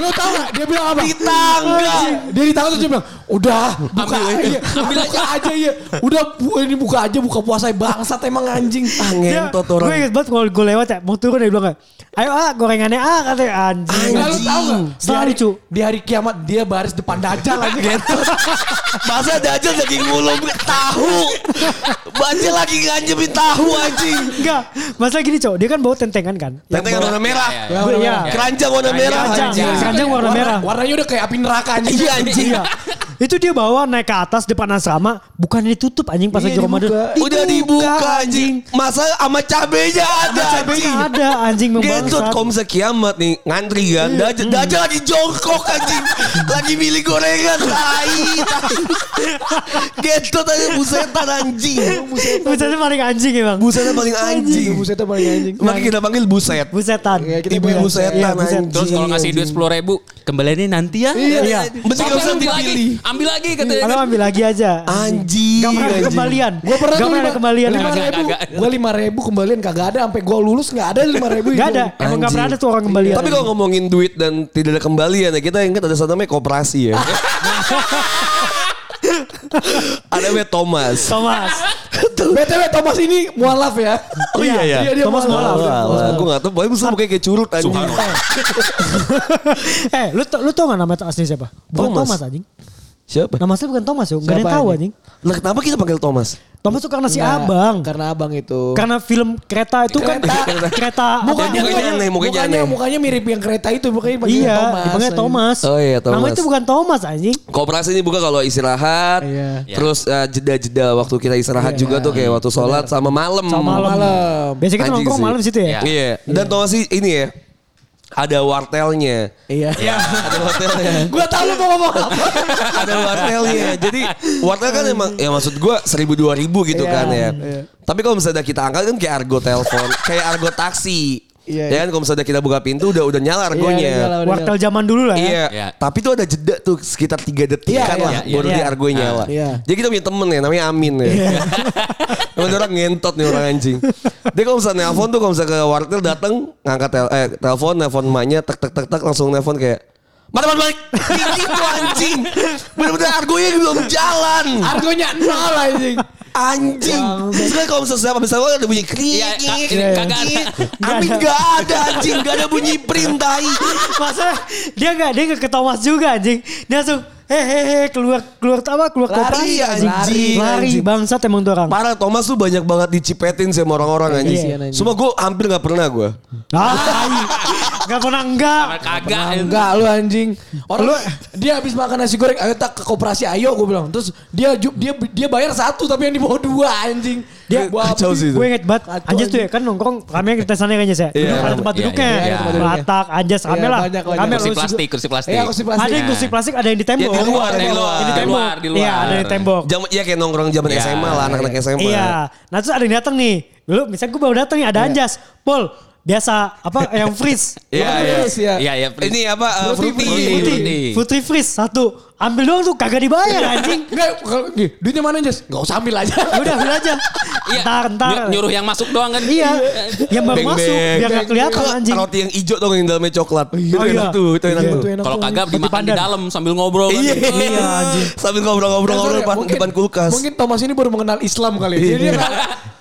[SPEAKER 3] Lu tahu gak dia bilang apa?
[SPEAKER 2] Di tangga
[SPEAKER 3] Dia di tangan terus dia bilang, "Udah, buka
[SPEAKER 5] Ambil
[SPEAKER 3] aja.
[SPEAKER 5] aja.
[SPEAKER 3] Ambil aja aja ya. Udah bu- ini buka aja buka puasa bangsat emang anjing."
[SPEAKER 2] Ah
[SPEAKER 4] Dia-
[SPEAKER 2] ngentot
[SPEAKER 4] Gue
[SPEAKER 2] orang
[SPEAKER 4] inget banget kalau gue lewat ya, mau turun dia bilang kayak, ayo ah gorengannya ah katanya anjing.
[SPEAKER 3] Enggak, lu tahu gak? Iya, Di
[SPEAKER 4] Selalu
[SPEAKER 3] hari,
[SPEAKER 4] cu.
[SPEAKER 3] di hari kiamat dia baris depan dajal aja gitu.
[SPEAKER 2] Masa dajal lagi ngulum tahu Baca lagi nganjemin tahu anjing
[SPEAKER 4] Enggak, masalah gini cowok, dia kan bawa tentengan kan.
[SPEAKER 2] Tentengan warna merah
[SPEAKER 5] Iya,
[SPEAKER 4] Gue ya,
[SPEAKER 3] Warna
[SPEAKER 2] Keranjang warna merah
[SPEAKER 4] Keranjang.
[SPEAKER 2] Iya, anjing
[SPEAKER 4] Keranjang warna merah.
[SPEAKER 3] Warnanya udah kayak api neraka anjing.
[SPEAKER 2] Iya anjing
[SPEAKER 4] Iya. Itu dia bawa naik ke atas depan asrama, bukan ditutup anjing pas
[SPEAKER 3] Iya,
[SPEAKER 4] lagi Ramadan.
[SPEAKER 3] dibuka.
[SPEAKER 2] Udah dibuka anjing. Masa sama cabenya ada
[SPEAKER 4] Cabenya ada anjing
[SPEAKER 2] Gentot
[SPEAKER 4] membangsat.
[SPEAKER 2] komse kiamat nih ngantri kan. Dajal, Dajal lagi jongkok anjing. lagi milih gorengan tai. tai. Gentot aja busetan anjing.
[SPEAKER 4] Busetnya paling anjing emang.
[SPEAKER 2] Busetan paling anjing. Nah,
[SPEAKER 3] Busetnya paling anjing.
[SPEAKER 2] Makanya kita panggil buset.
[SPEAKER 4] Busetan.
[SPEAKER 3] Iya, kita
[SPEAKER 2] Ibu-ibu
[SPEAKER 3] bilang,
[SPEAKER 2] setan
[SPEAKER 4] Iya, buset.
[SPEAKER 2] anjing.
[SPEAKER 5] Terus kalau ngasih duit sepuluh ribu kembaliannya nanti ya.
[SPEAKER 3] Iya.
[SPEAKER 2] Iya. Mesti
[SPEAKER 5] Tapi
[SPEAKER 2] gak usah
[SPEAKER 5] ambil lagi,
[SPEAKER 2] dipilih.
[SPEAKER 5] ambil lagi katanya.
[SPEAKER 4] Kalau
[SPEAKER 5] kan.
[SPEAKER 4] ambil lagi aja.
[SPEAKER 2] Anjing.
[SPEAKER 4] Gak pernah ada kembalian.
[SPEAKER 3] Gue pernah tuh
[SPEAKER 4] nah. Gak pernah ada
[SPEAKER 3] lima-
[SPEAKER 4] kembalian.
[SPEAKER 3] lima
[SPEAKER 5] Kagak,
[SPEAKER 3] ribu.
[SPEAKER 5] kagak.
[SPEAKER 3] Gue lima ribu kembalian kagak ada. Sampai gue lulus nggak ada lima ribu.
[SPEAKER 4] Gak ada. Emang gak
[SPEAKER 2] Anjing.
[SPEAKER 4] pernah ada tuh orang kembalian.
[SPEAKER 2] Tapi kalau ngomongin duit dan tidak ada kembalian ya kita ingat ada satu namanya koperasi ya. ada namanya Thomas.
[SPEAKER 4] Thomas.
[SPEAKER 3] BTW Thomas ini mualaf ya.
[SPEAKER 2] Oh iya ya.
[SPEAKER 3] Iya, dia
[SPEAKER 4] Thomas
[SPEAKER 3] mualaf.
[SPEAKER 4] mualaf.
[SPEAKER 3] Dia
[SPEAKER 2] Wah, gue gak tau. Pokoknya musuh mukanya kayak curut anjing.
[SPEAKER 4] eh, lu tau lu tau gak nama asli siapa? Bukan
[SPEAKER 2] Thomas.
[SPEAKER 4] Thomas, anjing.
[SPEAKER 2] Siapa?
[SPEAKER 4] Nama asli bukan Thomas yo. Gak ada yang
[SPEAKER 3] Siapa
[SPEAKER 4] tahu
[SPEAKER 3] anjing?
[SPEAKER 4] anjing.
[SPEAKER 2] Lah kenapa kita panggil Thomas?
[SPEAKER 4] Thomas tuh karena si
[SPEAKER 3] Nah,
[SPEAKER 4] Abang.
[SPEAKER 3] Karena abang itu.
[SPEAKER 4] Karena film kereta itu kan
[SPEAKER 2] Kereta.
[SPEAKER 4] kereta
[SPEAKER 2] Mukanya-
[SPEAKER 4] apa-
[SPEAKER 2] mukanya aneh, mukanya
[SPEAKER 3] mukanya,
[SPEAKER 2] aneh.
[SPEAKER 3] mukanya mirip yang kereta itu. Makanya dipanggil
[SPEAKER 4] Iya,
[SPEAKER 3] Thomas.
[SPEAKER 4] dipanggil Thomas.
[SPEAKER 2] Oh iya,
[SPEAKER 4] Nama
[SPEAKER 2] Thomas.
[SPEAKER 4] itu bukan Thomas anjing.
[SPEAKER 2] Koperasi ini buka kalau istirahat,
[SPEAKER 3] Iya.
[SPEAKER 2] terus eh, jeda-jeda waktu kita istirahat juga tuh kayak waktu sholat sama malam.
[SPEAKER 4] Iya. Sama malam.
[SPEAKER 3] malam.
[SPEAKER 4] Hmm. Biasanya kita
[SPEAKER 2] Anjing
[SPEAKER 4] nongkrong
[SPEAKER 2] sih.
[SPEAKER 4] malam situ ya.
[SPEAKER 5] Iya.
[SPEAKER 2] Iya. Dan Thomas sih ini ya, ada wartelnya.
[SPEAKER 3] Iya.
[SPEAKER 2] Ada wartelnya.
[SPEAKER 3] Gue tau lu mau ngomong
[SPEAKER 2] iya,
[SPEAKER 3] apa.
[SPEAKER 2] ada wartelnya. Jadi wartel kan emang ya maksud gua seribu dua ribu gitu
[SPEAKER 3] Iya,
[SPEAKER 2] kan ya.
[SPEAKER 3] iya.
[SPEAKER 2] Tapi kalau misalnya kita angkat kan kayak argo telepon, kayak argo taksi.
[SPEAKER 3] Iya,
[SPEAKER 2] ya kan kalau misalnya kita buka pintu udah udah nyala argonya.
[SPEAKER 3] udah nyala, udah
[SPEAKER 4] Wartel zaman dulu lah ya.
[SPEAKER 2] Iya.
[SPEAKER 5] Iya.
[SPEAKER 2] Tapi tuh ada jeda tuh sekitar 3 detik
[SPEAKER 3] Iya,
[SPEAKER 2] kan
[SPEAKER 3] iya,
[SPEAKER 2] lah
[SPEAKER 5] iya,
[SPEAKER 2] baru
[SPEAKER 4] iya.
[SPEAKER 2] dia argonya nyala.
[SPEAKER 3] Iya.
[SPEAKER 2] Jadi kita punya temen ya namanya Amin ya. Emang dia orang ngentot nih orang anjing. Dia kalau misalnya nelfon tuh kalau misalnya ke wartel datang ngangkat tel eh, telepon nelfon emaknya tek tek tek tek langsung nelfon kayak Mari mari mari. Gitu anjing. Bener-bener argonya belum jalan.
[SPEAKER 3] Argonya nol anjing.
[SPEAKER 2] Anjing. Sebenernya kalau misalnya siapa bisa ada bunyi krik.
[SPEAKER 5] Iya, ka-
[SPEAKER 2] krik,
[SPEAKER 5] ini kagak
[SPEAKER 2] krik.
[SPEAKER 5] ada.
[SPEAKER 2] Amin gak ada anjing. Gak ada bunyi perintai.
[SPEAKER 4] Masa dia nggak dia nggak ke Thomas juga anjing. Dia langsung hehehe keluar keluar apa keluar
[SPEAKER 2] Lari,
[SPEAKER 4] koperasi
[SPEAKER 2] anjing.
[SPEAKER 4] Lari, lari
[SPEAKER 2] Anjing.
[SPEAKER 4] bangsat emang tuh orang.
[SPEAKER 2] Parah Thomas tuh banyak banget dicipetin sama orang-orang anjing.
[SPEAKER 3] Iya, anjing.
[SPEAKER 2] Semua gue hampir nggak pernah gue.
[SPEAKER 4] Ah, tai. Gak pernah enggak.
[SPEAKER 5] Kagak.
[SPEAKER 3] Enggak lu anjing. Orang dia habis makan nasi goreng, ayo tak ke koperasi ayo gue bilang. Terus dia ju- dia dia bayar satu tapi yang di bawah dua anjing. Dia gua
[SPEAKER 2] Kacau sih itu.
[SPEAKER 4] Gue inget banget
[SPEAKER 3] Kacau,
[SPEAKER 4] Anjas tuh ya
[SPEAKER 3] anjing.
[SPEAKER 4] kan nongkrong rame kita sana kayaknya sih.
[SPEAKER 2] Iya,
[SPEAKER 4] Duduk ada
[SPEAKER 2] rame.
[SPEAKER 4] tempat
[SPEAKER 5] Iya,
[SPEAKER 4] duduknya.
[SPEAKER 5] iya,
[SPEAKER 3] iya, tempat duduknya.
[SPEAKER 4] Batak, Anjas rame
[SPEAKER 3] Iya,
[SPEAKER 4] lah.
[SPEAKER 3] banyak, banyak.
[SPEAKER 4] Rame
[SPEAKER 5] Kursi
[SPEAKER 4] lu-
[SPEAKER 5] plastik, kursi plastik.
[SPEAKER 3] Iya, kursi plastik.
[SPEAKER 4] Ada yang kursi plastik, ada yang di tembok.
[SPEAKER 2] Ya, di luar,
[SPEAKER 4] Ada
[SPEAKER 2] di
[SPEAKER 4] yang
[SPEAKER 2] luar.
[SPEAKER 4] Yang di
[SPEAKER 5] Di
[SPEAKER 4] tembok.
[SPEAKER 5] luar, di luar.
[SPEAKER 4] Iya, ada yang di tembok.
[SPEAKER 2] Jam, ya kayak nongkrong zaman
[SPEAKER 5] Iya.
[SPEAKER 2] SMA lah anak-anak SMA.
[SPEAKER 4] Iya. Nah terus ada yang datang nih. Dulu misalnya gue baru datang nih ada Anjas. Pol biasa apa yang freeze.
[SPEAKER 2] Iya,
[SPEAKER 3] Iya,
[SPEAKER 2] iya.
[SPEAKER 3] terus ya.
[SPEAKER 5] Iya, iya. please.
[SPEAKER 2] Ini apa? Uh,
[SPEAKER 3] Fruity,
[SPEAKER 2] fruity.
[SPEAKER 3] fruity.
[SPEAKER 5] Fruity.
[SPEAKER 4] Putri, Putri freeze satu. Ambil doang tuh kagak dibayar anjing.
[SPEAKER 3] Enggak, kalau gini, duitnya mana Jas? Enggak usah ambil aja.
[SPEAKER 4] Udah ambil aja.
[SPEAKER 5] Iya,
[SPEAKER 4] Ntar, ntar.
[SPEAKER 5] ny- Nyuruh yang masuk doang kan.
[SPEAKER 4] Iya. Yang baru
[SPEAKER 2] Beng,
[SPEAKER 4] masuk
[SPEAKER 2] beng.
[SPEAKER 4] biar gak kelihatan
[SPEAKER 2] Kalau
[SPEAKER 4] anjing.
[SPEAKER 2] kan Roti yang hijau dong yang dalamnya coklat. itu
[SPEAKER 4] Oh,
[SPEAKER 2] enak
[SPEAKER 4] iya.
[SPEAKER 2] tuh, itu enak
[SPEAKER 3] Iya,
[SPEAKER 2] tuh.
[SPEAKER 3] itu enak.
[SPEAKER 5] Kalau kagak dimakan di
[SPEAKER 4] pandan.
[SPEAKER 5] dalam sambil ngobrol. kan.
[SPEAKER 2] Iya,
[SPEAKER 5] Iya.
[SPEAKER 2] anjing. Sambil ngobrol-ngobrol
[SPEAKER 3] Sorry,
[SPEAKER 2] ngobrol depan,
[SPEAKER 3] mungkin-
[SPEAKER 2] depan kulkas.
[SPEAKER 3] Mungkin Thomas ini baru mengenal Islam kali ya. Jadi dia nggak-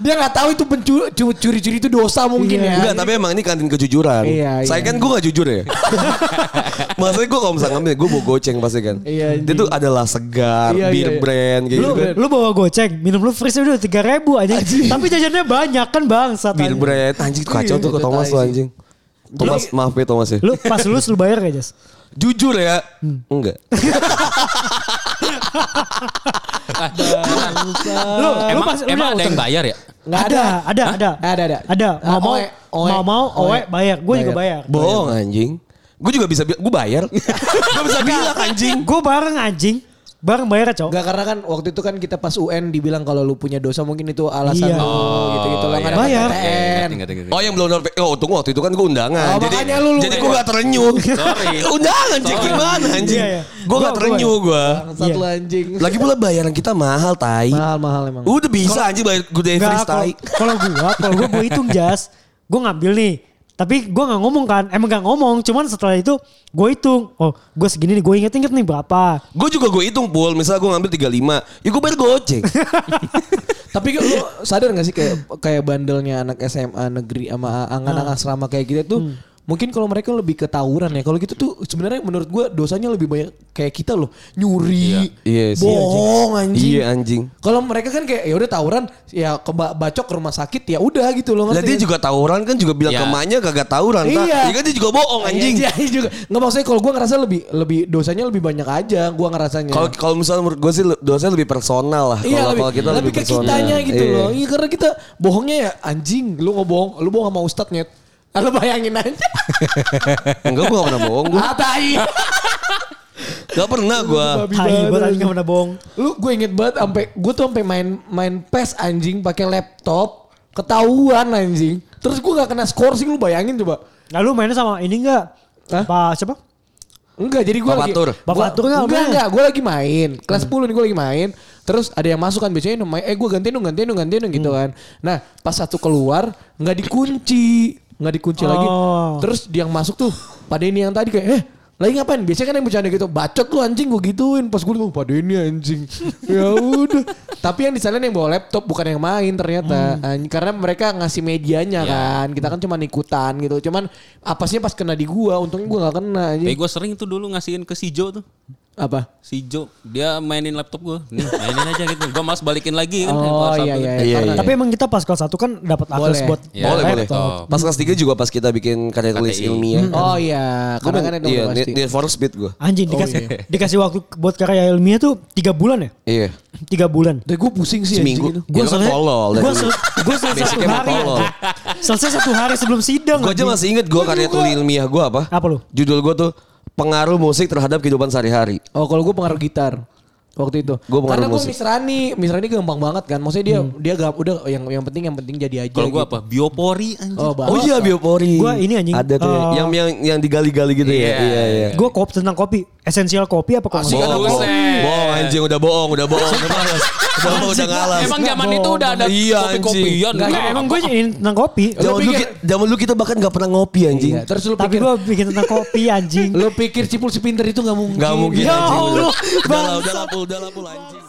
[SPEAKER 3] dia nggak tahu itu pencu- cu- curi-curi itu dosa mungkin ya.
[SPEAKER 2] Enggak, tapi emang ini kantin kejujuran.
[SPEAKER 3] Iya,
[SPEAKER 2] Saya
[SPEAKER 3] iya.
[SPEAKER 2] kan gue gak jujur ya. Maksudnya gue kalau misalnya ngambil, gue mau goceng pasti kan.
[SPEAKER 3] Iya.
[SPEAKER 2] Dia tuh adalah segar,
[SPEAKER 3] Iya,
[SPEAKER 2] beer
[SPEAKER 3] iya, iya.
[SPEAKER 2] brand gitu.
[SPEAKER 4] Lu,
[SPEAKER 2] kan.
[SPEAKER 4] lu bawa goceng, minum lu freeze udah 3000 ribu aja. Tapi jajannya banyak kan bang.
[SPEAKER 2] Beer brand. Anjing tuh kacau tuh ke
[SPEAKER 3] Iya,
[SPEAKER 2] Thomas
[SPEAKER 3] tai
[SPEAKER 2] tuh
[SPEAKER 3] sih.
[SPEAKER 2] anjing. Thomas maaf ya Thomas ya.
[SPEAKER 4] Lu pas lulus lu bayar gak Jas?
[SPEAKER 2] Jujur ya.
[SPEAKER 3] Hmm.
[SPEAKER 2] Enggak.
[SPEAKER 4] Lu, lu
[SPEAKER 5] Emang,
[SPEAKER 4] pas
[SPEAKER 5] emang
[SPEAKER 4] udah,
[SPEAKER 5] ada yang bayar ya?
[SPEAKER 4] Nggak ada, ada, ada,
[SPEAKER 3] Ada, ada.
[SPEAKER 4] ada.
[SPEAKER 3] Ah,
[SPEAKER 4] Mau mau,
[SPEAKER 3] oe, oe,
[SPEAKER 4] mau mau, oe
[SPEAKER 3] oe.
[SPEAKER 4] bayar. Gue juga bayar.
[SPEAKER 2] Bohong anjing. Gue juga bisa bi- gue bayar. gue bisa bilang anjing.
[SPEAKER 4] Gue bareng anjing, bareng bayar cowok.
[SPEAKER 3] Enggak karena kan waktu itu kan kita pas UN dibilang kalau lu punya dosa mungkin itu alasan
[SPEAKER 4] Iya.
[SPEAKER 3] lu gitu-gitu lo nggak
[SPEAKER 4] iya. Bayar.
[SPEAKER 3] dapat PTN.
[SPEAKER 2] Oh yang belum dapat oh untung waktu itu kan gue undangan.
[SPEAKER 3] Oh,
[SPEAKER 2] jadi
[SPEAKER 3] makanya lu- lu-
[SPEAKER 2] jadi gue gak terenyuh. undangan anjing gimana anjing?
[SPEAKER 4] Iya, iya.
[SPEAKER 2] Gue gak
[SPEAKER 4] Gua- gua-
[SPEAKER 2] terenyuh gue.
[SPEAKER 3] Bangsat
[SPEAKER 4] Iya.
[SPEAKER 3] lu anjing.
[SPEAKER 2] Lagi pula bayaran kita mahal tai.
[SPEAKER 3] Mahal-mahal emang.
[SPEAKER 2] Udah bisa anjing bayar gede
[SPEAKER 4] Enggak,
[SPEAKER 2] freeze
[SPEAKER 4] kalau-
[SPEAKER 2] tai.
[SPEAKER 4] kalau gua, kalau gua gua hitung jas, gua ngambil nih. Tapi gua nggak ngomong kan, emang nggak ngomong. Cuman setelah itu gua hitung, oh gua segini nih, gua inget-inget nih berapa.
[SPEAKER 2] Gue juga gue hitung pul, misalnya gue ngambil 35, ya gue bayar goceng.
[SPEAKER 3] Tapi lu sadar gak sih kayak kayak bandelnya anak SMA negeri sama anak-anak asrama kayak gitu tuh mungkin kalau mereka lebih ke tawuran ya. Kalau gitu tuh sebenarnya menurut gua dosanya lebih banyak kayak kita loh, nyuri,
[SPEAKER 2] Iya. Iya sih,
[SPEAKER 3] bohong anjing.
[SPEAKER 2] iya anjing.
[SPEAKER 3] Kalau mereka kan kayak ya udah tawuran, ya ke ba- bacok ke rumah sakit ya udah gitu loh.
[SPEAKER 2] Lah
[SPEAKER 3] ngerti
[SPEAKER 2] dia
[SPEAKER 3] kan?
[SPEAKER 2] juga tawuran kan juga bilang
[SPEAKER 5] Iya.
[SPEAKER 2] ke emaknya kagak tawuran. Iya.
[SPEAKER 3] Iya.
[SPEAKER 2] kan dia juga bohong anjing.
[SPEAKER 3] Iya, iya juga. Nggak maksudnya kalau gua ngerasa lebih lebih dosanya lebih banyak aja gua ngerasanya.
[SPEAKER 2] Kalau kalau misalnya menurut gue sih le- dosanya lebih personal lah.
[SPEAKER 3] Iya
[SPEAKER 2] kalau
[SPEAKER 3] lebih,
[SPEAKER 2] kalau kita lebih,
[SPEAKER 3] lebih ke
[SPEAKER 2] personal.
[SPEAKER 3] kitanya gitu
[SPEAKER 2] Iya.
[SPEAKER 3] loh. Iya karena kita bohongnya ya anjing. Lu ngebohong, lu bohong sama ustadz nyet. Ah, Lu bayangin aja.
[SPEAKER 2] Enggak gue gak pernah bohong gue.
[SPEAKER 3] Ah, tai.
[SPEAKER 2] Gak pernah gue.
[SPEAKER 3] Babi
[SPEAKER 4] Hai,
[SPEAKER 3] banget.
[SPEAKER 4] gua tadi nggak pernah bohong.
[SPEAKER 3] Lu gue inget banget sampai gue tuh sampai main main PES anjing pakai laptop ketahuan anjing. Terus gue gak kena skor sih lu bayangin coba.
[SPEAKER 4] Lalu Nah, mainnya sama ini enggak?
[SPEAKER 3] Hah?
[SPEAKER 4] Pak siapa?
[SPEAKER 3] Enggak, jadi gue
[SPEAKER 2] Bapak
[SPEAKER 3] lagi...
[SPEAKER 2] Tur.
[SPEAKER 3] Gua-
[SPEAKER 4] Bapak Tur nggak
[SPEAKER 3] Enggak,
[SPEAKER 4] main?
[SPEAKER 3] enggak. Gue lagi main. Kelas 10 nih gue lagi main. Terus ada yang masuk kan biasanya nomor- eh gue gantiin dong, gantiin dong, gantiin dong gitu kan. Nah pas satu keluar nggak dikunci. Nggak dikunci lagi.
[SPEAKER 4] Oh.
[SPEAKER 3] Terus dia yang masuk tuh pada ini yang tadi kayak eh lagi ngapain? Biasanya kan yang bercanda gitu, bacot lu anjing gue gituin. Pas gue tuh pada ini anjing. ya udah. Tapi yang disalahin yang bawa laptop bukan yang main ternyata. Anjing, Karena mereka ngasih medianya
[SPEAKER 5] Ya.
[SPEAKER 3] kan. Kita kan cuma ikutan gitu. Cuman apasnya pas kena di gua, untungnya gua gak kena anjing.
[SPEAKER 5] Tapi gue sering tuh dulu ngasihin ke si Jo tuh.
[SPEAKER 3] Apa?
[SPEAKER 5] Si Jo, dia mainin laptop gue. Nih, mainin aja gitu. Gue malas balikin lagi kan.
[SPEAKER 3] Oh
[SPEAKER 2] Iya,
[SPEAKER 3] iya iya iya.
[SPEAKER 2] iya.
[SPEAKER 4] Tapi emang kita pas kelas 1 kan dapat
[SPEAKER 3] Boleh.
[SPEAKER 4] akses buat
[SPEAKER 5] Iya.
[SPEAKER 2] boleh
[SPEAKER 5] Laptop.
[SPEAKER 2] boleh. Oh. Pas kelas 3 juga pas kita bikin karya tulis
[SPEAKER 5] KTI.
[SPEAKER 2] ilmiah. kan.
[SPEAKER 3] Oh iya,
[SPEAKER 2] Gua
[SPEAKER 3] karena kan
[SPEAKER 2] main-
[SPEAKER 3] itu
[SPEAKER 2] iya,
[SPEAKER 3] udah
[SPEAKER 2] Need,
[SPEAKER 3] pasti.
[SPEAKER 2] Need for Speed gue.
[SPEAKER 4] anjing dikasih dikasih waktu buat karya ilmiah tuh tiga bulan ya?
[SPEAKER 2] Iya.
[SPEAKER 4] Tiga bulan.
[SPEAKER 3] Tapi gue pusing sih
[SPEAKER 2] Seminggu.
[SPEAKER 3] anjing itu.
[SPEAKER 2] Dia kan tolol dari
[SPEAKER 4] gue
[SPEAKER 2] dulu.
[SPEAKER 4] selesai satu
[SPEAKER 2] Basicnya emang
[SPEAKER 4] hari
[SPEAKER 2] tolol.
[SPEAKER 4] anjing. selesai satu hari sebelum sidang
[SPEAKER 2] Gue aja
[SPEAKER 4] anjing.
[SPEAKER 2] masih inget gue karya tulis ilmiah gue apa?
[SPEAKER 4] Apa lu?
[SPEAKER 2] Judul gue tuh pengaruh musik terhadap kehidupan sehari-hari.
[SPEAKER 3] Oh kalau gue pengaruh gitar waktu itu.
[SPEAKER 2] Gua pengaruh
[SPEAKER 3] karena gue
[SPEAKER 2] musik.
[SPEAKER 3] Misrani, Misrani gampang banget kan. Maksudnya dia dia gak, udah yang yang penting yang penting jadi aja.
[SPEAKER 5] Kalau gue
[SPEAKER 3] gitu.
[SPEAKER 5] apa? Biopori anjir.
[SPEAKER 3] Oh,
[SPEAKER 2] Oh iya biopori.
[SPEAKER 4] Gua ini anjing,
[SPEAKER 2] Ada tuh ya.
[SPEAKER 4] eh,
[SPEAKER 2] yang yang yang digali-gali gitu
[SPEAKER 5] Iya.
[SPEAKER 2] ya. Iya iya. Ah,
[SPEAKER 4] Gue kop tentang kopi, esensial kopi apa kopi?
[SPEAKER 5] Asik,
[SPEAKER 2] Bohong,
[SPEAKER 5] Buset.
[SPEAKER 2] bohong, bohong anjing udah bohong, udah bohong, udah malas. Udah bohong, udah ngalas.
[SPEAKER 5] Emang zaman
[SPEAKER 4] Nggak,
[SPEAKER 5] itu udah ada
[SPEAKER 2] Iya,
[SPEAKER 5] kopi-kopian.
[SPEAKER 4] Enggak,
[SPEAKER 5] Nggak,
[SPEAKER 4] emang
[SPEAKER 5] apa-
[SPEAKER 4] gue tentang kopi.
[SPEAKER 2] Zaman dulu, kita, zaman dulu kita bahkan gak pernah ngopi anjing.
[SPEAKER 3] Iya, terus lu
[SPEAKER 4] Tapi
[SPEAKER 3] pikir
[SPEAKER 4] gue bikin tentang kopi anjing.
[SPEAKER 3] lu pikir cipul si pinter itu gak mungkin. Iya,
[SPEAKER 2] Gak mungkin
[SPEAKER 4] Ya
[SPEAKER 2] anjing.
[SPEAKER 4] Allah,
[SPEAKER 2] Udah, udah lah,
[SPEAKER 4] bangsat.
[SPEAKER 2] udah lah, pul, udah lah, pul anjing.